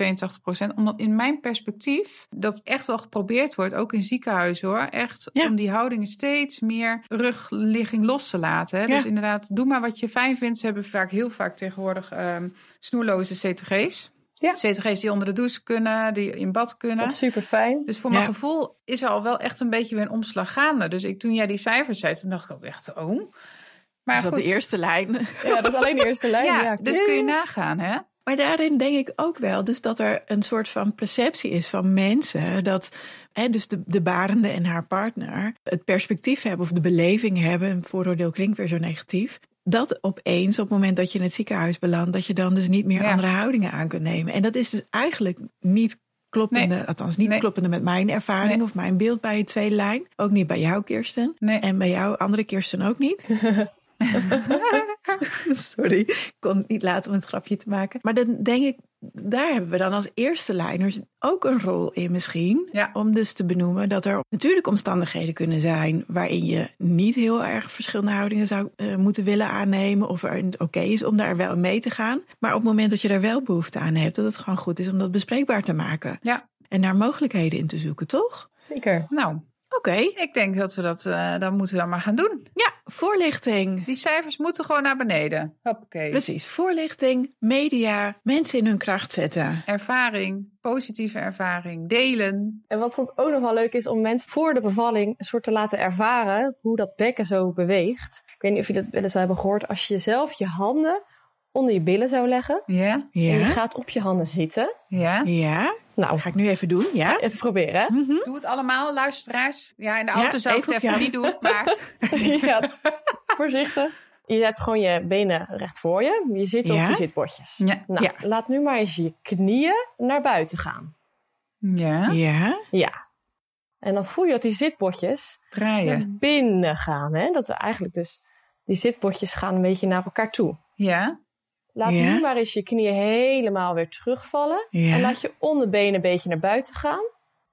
Speaker 1: 82%. Omdat in mijn perspectief dat echt wel geprobeerd wordt, ook in ziekenhuizen hoor. Echt
Speaker 2: Ja.
Speaker 1: om die houdingen steeds meer rugligging los te laten. Hè.
Speaker 2: Ja.
Speaker 1: Dus inderdaad, doe maar wat je fijn vindt. Ze hebben vaak heel vaak tegenwoordig ehm snoerloze CTG's.
Speaker 3: Ja.
Speaker 1: CTG's die onder de douche kunnen, die in bad kunnen.
Speaker 3: Dat is super fijn.
Speaker 1: Dus voor
Speaker 2: Ja.
Speaker 1: mijn gevoel is er al wel echt een beetje weer een omslag gaande. Dus ik, toen jij die cijfers zei, toen dacht ik ook echt, oh. Maar
Speaker 2: Is dat de eerste lijn?
Speaker 3: Ja, dat is alleen de eerste lijn. Ja,
Speaker 1: ja, dus kun je nagaan, hè?
Speaker 2: Maar daarin denk ik ook wel dus dat er een soort van perceptie is van mensen dat hè, dus de, de barende en haar partner het perspectief hebben of de beleving hebben, een vooroordeel klinkt weer zo negatief, dat opeens op het moment dat je in het ziekenhuis belandt, dat je dan dus niet meer
Speaker 1: Ja.
Speaker 2: andere houdingen aan kunt nemen. En dat is dus eigenlijk niet kloppende, althans niet
Speaker 1: Nee.
Speaker 2: kloppende met mijn ervaring
Speaker 1: Nee.
Speaker 2: of mijn beeld bij je tweede lijn. Ook niet bij jou, Kirsten.
Speaker 1: Nee.
Speaker 2: En bij jou, andere Kirsten ook niet. Sorry, ik kon het niet laten om het grapje te maken. Maar dan denk ik, daar hebben we dan als eerste lijners ook een rol in misschien.
Speaker 1: Ja.
Speaker 2: Om dus te benoemen dat er natuurlijk omstandigheden kunnen zijn... waarin je niet heel erg verschillende houdingen zou eh, moeten willen aannemen... of er oké is om daar wel mee te gaan. Maar op het moment dat je daar wel behoefte aan hebt... dat het gewoon goed is om dat bespreekbaar te maken.
Speaker 1: Ja.
Speaker 2: En daar mogelijkheden in te zoeken, toch?
Speaker 3: Zeker.
Speaker 1: Nou,
Speaker 2: Oké,
Speaker 1: ik denk dat we dat eh, dan moeten we dan maar gaan doen.
Speaker 2: ja, voorlichting.
Speaker 1: Die cijfers moeten gewoon naar beneden. Dus Hoppakee.
Speaker 2: Precies, voorlichting, media, mensen in hun kracht zetten.
Speaker 1: Ervaring, positieve ervaring, delen.
Speaker 3: En wat vond ik ook nog wel leuk is om mensen voor de bevalling een soort te laten ervaren hoe dat bekken zo beweegt. Ik weet niet of je dat wel eens zou hebben gehoord. Als je zelf je handen onder je billen zou leggen
Speaker 1: Ja,
Speaker 3: en je
Speaker 2: Ja,
Speaker 3: gaat op je handen zitten.
Speaker 1: ja.
Speaker 2: ja.
Speaker 3: Nou,
Speaker 2: Dat ga ik nu even doen, ja.
Speaker 3: even proberen. hè?
Speaker 1: Doe het allemaal, luisteraars. Ja, in de
Speaker 2: Hm? Ja,
Speaker 1: auto zou ik
Speaker 2: even
Speaker 1: het
Speaker 2: op
Speaker 1: even
Speaker 2: jou.
Speaker 1: niet doen, maar
Speaker 2: Hm.
Speaker 3: ja, voorzichtig. Je hebt gewoon je benen recht voor je. Je zit op
Speaker 2: Ja.
Speaker 3: je zitbordjes.
Speaker 1: Ja.
Speaker 3: Nou,
Speaker 2: Ja.
Speaker 3: laat nu maar eens je knieën naar buiten gaan.
Speaker 1: ja,
Speaker 2: Ja,
Speaker 3: Ja. En dan voel je dat die zitbordjes naar
Speaker 1: draaien.
Speaker 3: binnen gaan. Hè? Dat we eigenlijk dus die zitbotjes gaan een beetje naar elkaar toe.
Speaker 1: Ja,
Speaker 3: Laat
Speaker 2: Ja.
Speaker 3: nu maar eens je knieën helemaal weer terugvallen.
Speaker 2: Ja.
Speaker 3: En laat je onderbenen een beetje naar buiten gaan.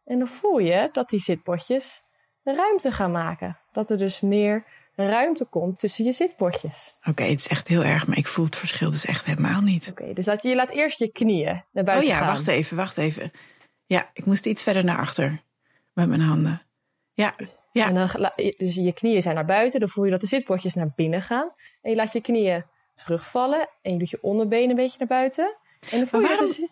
Speaker 3: En dan voel je dat die zitbotjes ruimte gaan maken. Dat er dus meer ruimte komt tussen je zitbotjes.
Speaker 2: Oké, het is echt heel erg, maar ik voel het verschil dus echt helemaal niet.
Speaker 3: Oké, dus laat, je laat eerst je knieën
Speaker 2: Oh
Speaker 3: naar buiten
Speaker 2: ja,
Speaker 3: gaan.
Speaker 2: wacht even, wacht even. Ja, ik moest iets verder naar achter met mijn handen. Ja, ja.
Speaker 3: En dan, la- dus je knieën zijn naar buiten, dan voel je dat de zitbotjes naar binnen gaan. En je laat je knieën terugvallen en je doet je onderbeen een beetje naar buiten. En dan voel je
Speaker 2: Maar
Speaker 3: dat de zit-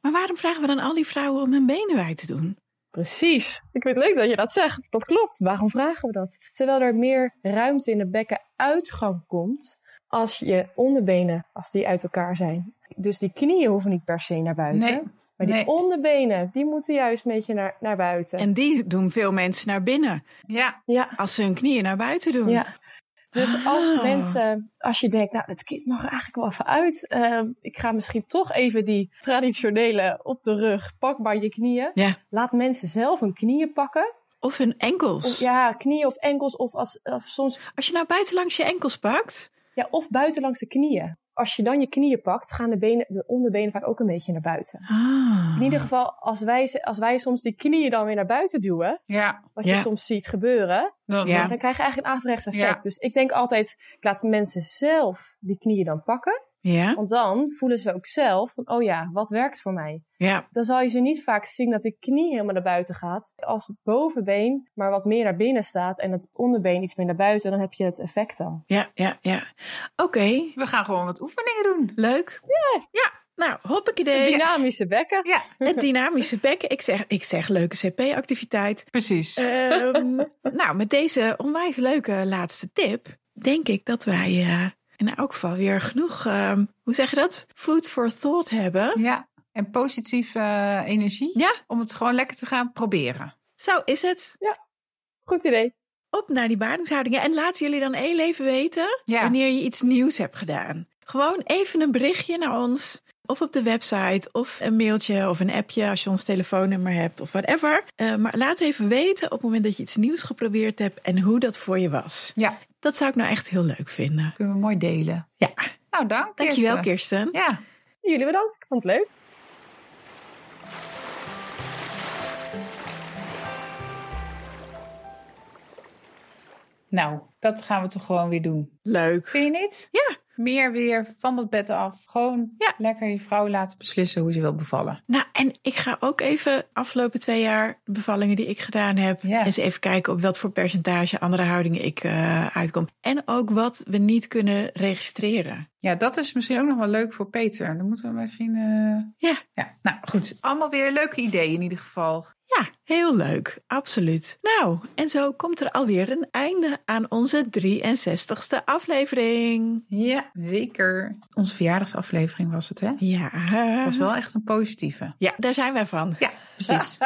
Speaker 2: Maar waarom vragen we dan al die vrouwen om hun benen wijd te doen?
Speaker 3: Precies. Ik vind het leuk dat je dat zegt. Dat klopt. Waarom vragen we dat? Terwijl er meer ruimte in de bekkenuitgang komt als je onderbenen, als die uit elkaar zijn. Dus die knieën hoeven niet per se naar buiten.
Speaker 1: Nee,
Speaker 3: maar die
Speaker 1: nee.
Speaker 3: onderbenen, die moeten juist een beetje naar, naar buiten.
Speaker 2: En die doen veel mensen naar binnen
Speaker 1: Ja,
Speaker 3: Ja,
Speaker 2: als ze hun knieën naar buiten doen.
Speaker 3: ja. Dus als
Speaker 2: Ah.
Speaker 3: mensen, als je denkt, nou, het kind mag er eigenlijk wel even uit. eh, ik ga misschien toch even die traditionele op de rug, pak maar je knieën.
Speaker 2: Ja.
Speaker 3: Laat mensen zelf hun knieën pakken.
Speaker 2: Of hun enkels.
Speaker 3: Of, ja, knieën of enkels of, als, of soms
Speaker 2: Als je nou buitenlangs je enkels pakt.
Speaker 3: ja, of buitenlangs de knieën. Als je dan je knieën pakt, gaan de, benen, de onderbenen vaak ook een beetje naar buiten.
Speaker 2: Ah.
Speaker 3: In ieder geval, als wij, ze- als wij soms die knieën dan weer naar buiten duwen,
Speaker 1: ja.
Speaker 3: wat
Speaker 2: Ja.
Speaker 3: je soms ziet gebeuren,
Speaker 1: Dat,
Speaker 2: Ja.
Speaker 1: dat-
Speaker 3: dan krijg je eigenlijk een averechts effect.
Speaker 1: Ja.
Speaker 3: Dus ik denk altijd, ik laat mensen zelf die knieën dan pakken.
Speaker 2: Ja,
Speaker 3: Want dan voelen ze ook zelf van, oh ja, wat werkt voor mij?
Speaker 2: ja.
Speaker 3: Dan zal je ze niet vaak zien dat de knie helemaal naar buiten gaat. Als het bovenbeen maar wat meer naar binnen staat en het onderbeen iets meer naar buiten, dan heb je het effect al.
Speaker 2: Ja, ja, ja. Oké,
Speaker 1: We gaan gewoon wat oefeningen doen.
Speaker 2: leuk. Ja. Ja, nou, hoppakee.
Speaker 3: Dynamische bekken.
Speaker 1: Ja,
Speaker 2: Het dynamische bekken. Ik zeg, ik zeg leuke CP-activiteit.
Speaker 1: precies.
Speaker 2: Ehm, nou, met deze onwijs leuke laatste tip denk ik dat wij eh, in elk geval weer genoeg, ehm, hoe zeg je dat? Food for thought hebben.
Speaker 1: Ja, en positieve eh, energie.
Speaker 2: Ja.
Speaker 1: Om het gewoon lekker te gaan proberen.
Speaker 2: Zo is het.
Speaker 3: Goed idee.
Speaker 2: Op naar die baringshoudingen. En laten jullie dan heel even weten
Speaker 1: Ja.
Speaker 2: wanneer je iets nieuws hebt gedaan. Gewoon even een berichtje naar ons. Of op de website, of een mailtje, of een appje als je ons telefoonnummer hebt, of whatever. Eh, maar laat even weten op het moment dat je iets nieuws geprobeerd hebt en hoe dat voor je was.
Speaker 1: Ja,
Speaker 2: Dat zou ik nou echt heel leuk vinden.
Speaker 1: kunnen we mooi delen.
Speaker 2: Ja,
Speaker 1: Nou, dank.
Speaker 2: dankjewel
Speaker 1: Kirsten.
Speaker 2: Kirsten.
Speaker 1: Ja.
Speaker 3: Jullie bedankt, ik vond het leuk.
Speaker 1: Nou, dat gaan we toch gewoon weer doen.
Speaker 2: Leuk.
Speaker 1: Vind je niet?
Speaker 2: Ja,
Speaker 1: Meer weer van dat bed af. Gewoon
Speaker 2: Ja.
Speaker 1: lekker die vrouw laten beslissen hoe ze wil bevallen.
Speaker 2: nou en ik ga ook even afgelopen twee jaar de bevallingen die ik gedaan heb.
Speaker 1: Ja.
Speaker 2: Eens even kijken op wat voor percentage andere houdingen ik eh, uitkom. En ook wat we niet kunnen registreren.
Speaker 1: Ja, dat is misschien ook nog wel leuk voor Peter. Dan moeten we misschien... eh,
Speaker 2: Ja,
Speaker 1: Ja, nou goed. Allemaal weer leuke ideeën in ieder geval.
Speaker 2: ja, heel leuk. Absoluut. Nou, en zo komt er alweer een einde aan onze 63ste aflevering.
Speaker 1: Ja, zeker. Onze verjaardagsaflevering was het, hè?
Speaker 2: Ja.
Speaker 1: was wel echt een positieve.
Speaker 2: Ja, daar zijn wij van.
Speaker 1: Ja, precies.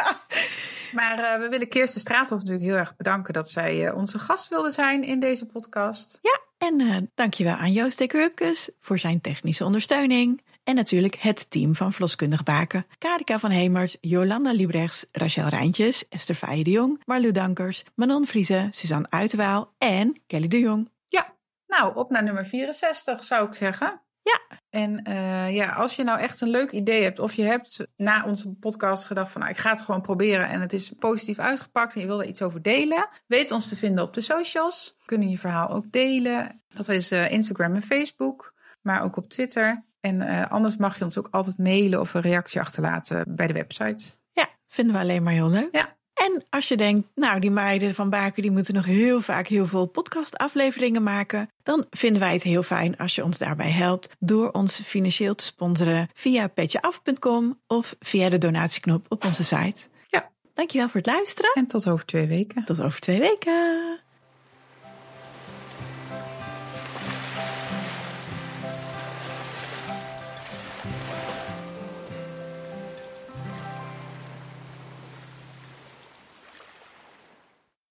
Speaker 1: maar eh, we willen Kirsten Straathof natuurlijk heel erg bedanken dat zij eh, onze gast wilde zijn in deze podcast.
Speaker 2: Ja, en eh dankjewel aan Joost Dekkerhupkes voor zijn technische ondersteuning. En natuurlijk het team van Vloskundig Baken. Karika van Hemers, Jolanda Liebrechts, Rachel Rijntjes, Esther Faaije de Jong, Marlu Dankers, Manon Vriezen, Suzanne Uiterwaal en Kelly de Jong.
Speaker 1: Ja, nou, op naar nummer 64 zou ik zeggen.
Speaker 2: Ja.
Speaker 1: En eh, ja, als je nou echt een leuk idee hebt, of je hebt na onze podcast gedacht van nou, ik ga het gewoon proberen en het is positief uitgepakt en je wil er iets over delen, weet ons te vinden op de socials. We kunnen je verhaal ook delen. Dat is eh, Instagram en Facebook, maar ook op Twitter. En eh, anders mag je ons ook altijd mailen of een reactie achterlaten bij de website.
Speaker 2: Ja, vinden we alleen maar heel leuk.
Speaker 1: Ja.
Speaker 2: En als je denkt, nou die meiden van Baken die moeten nog heel vaak heel veel podcastafleveringen maken, dan vinden wij het heel fijn als je ons daarbij helpt door ons financieel te sponsoren via petjeaf.com of via de donatieknop op onze site.
Speaker 1: Ja.
Speaker 2: Dankjewel voor het luisteren.
Speaker 1: En tot over twee weken.
Speaker 2: Tot over twee weken.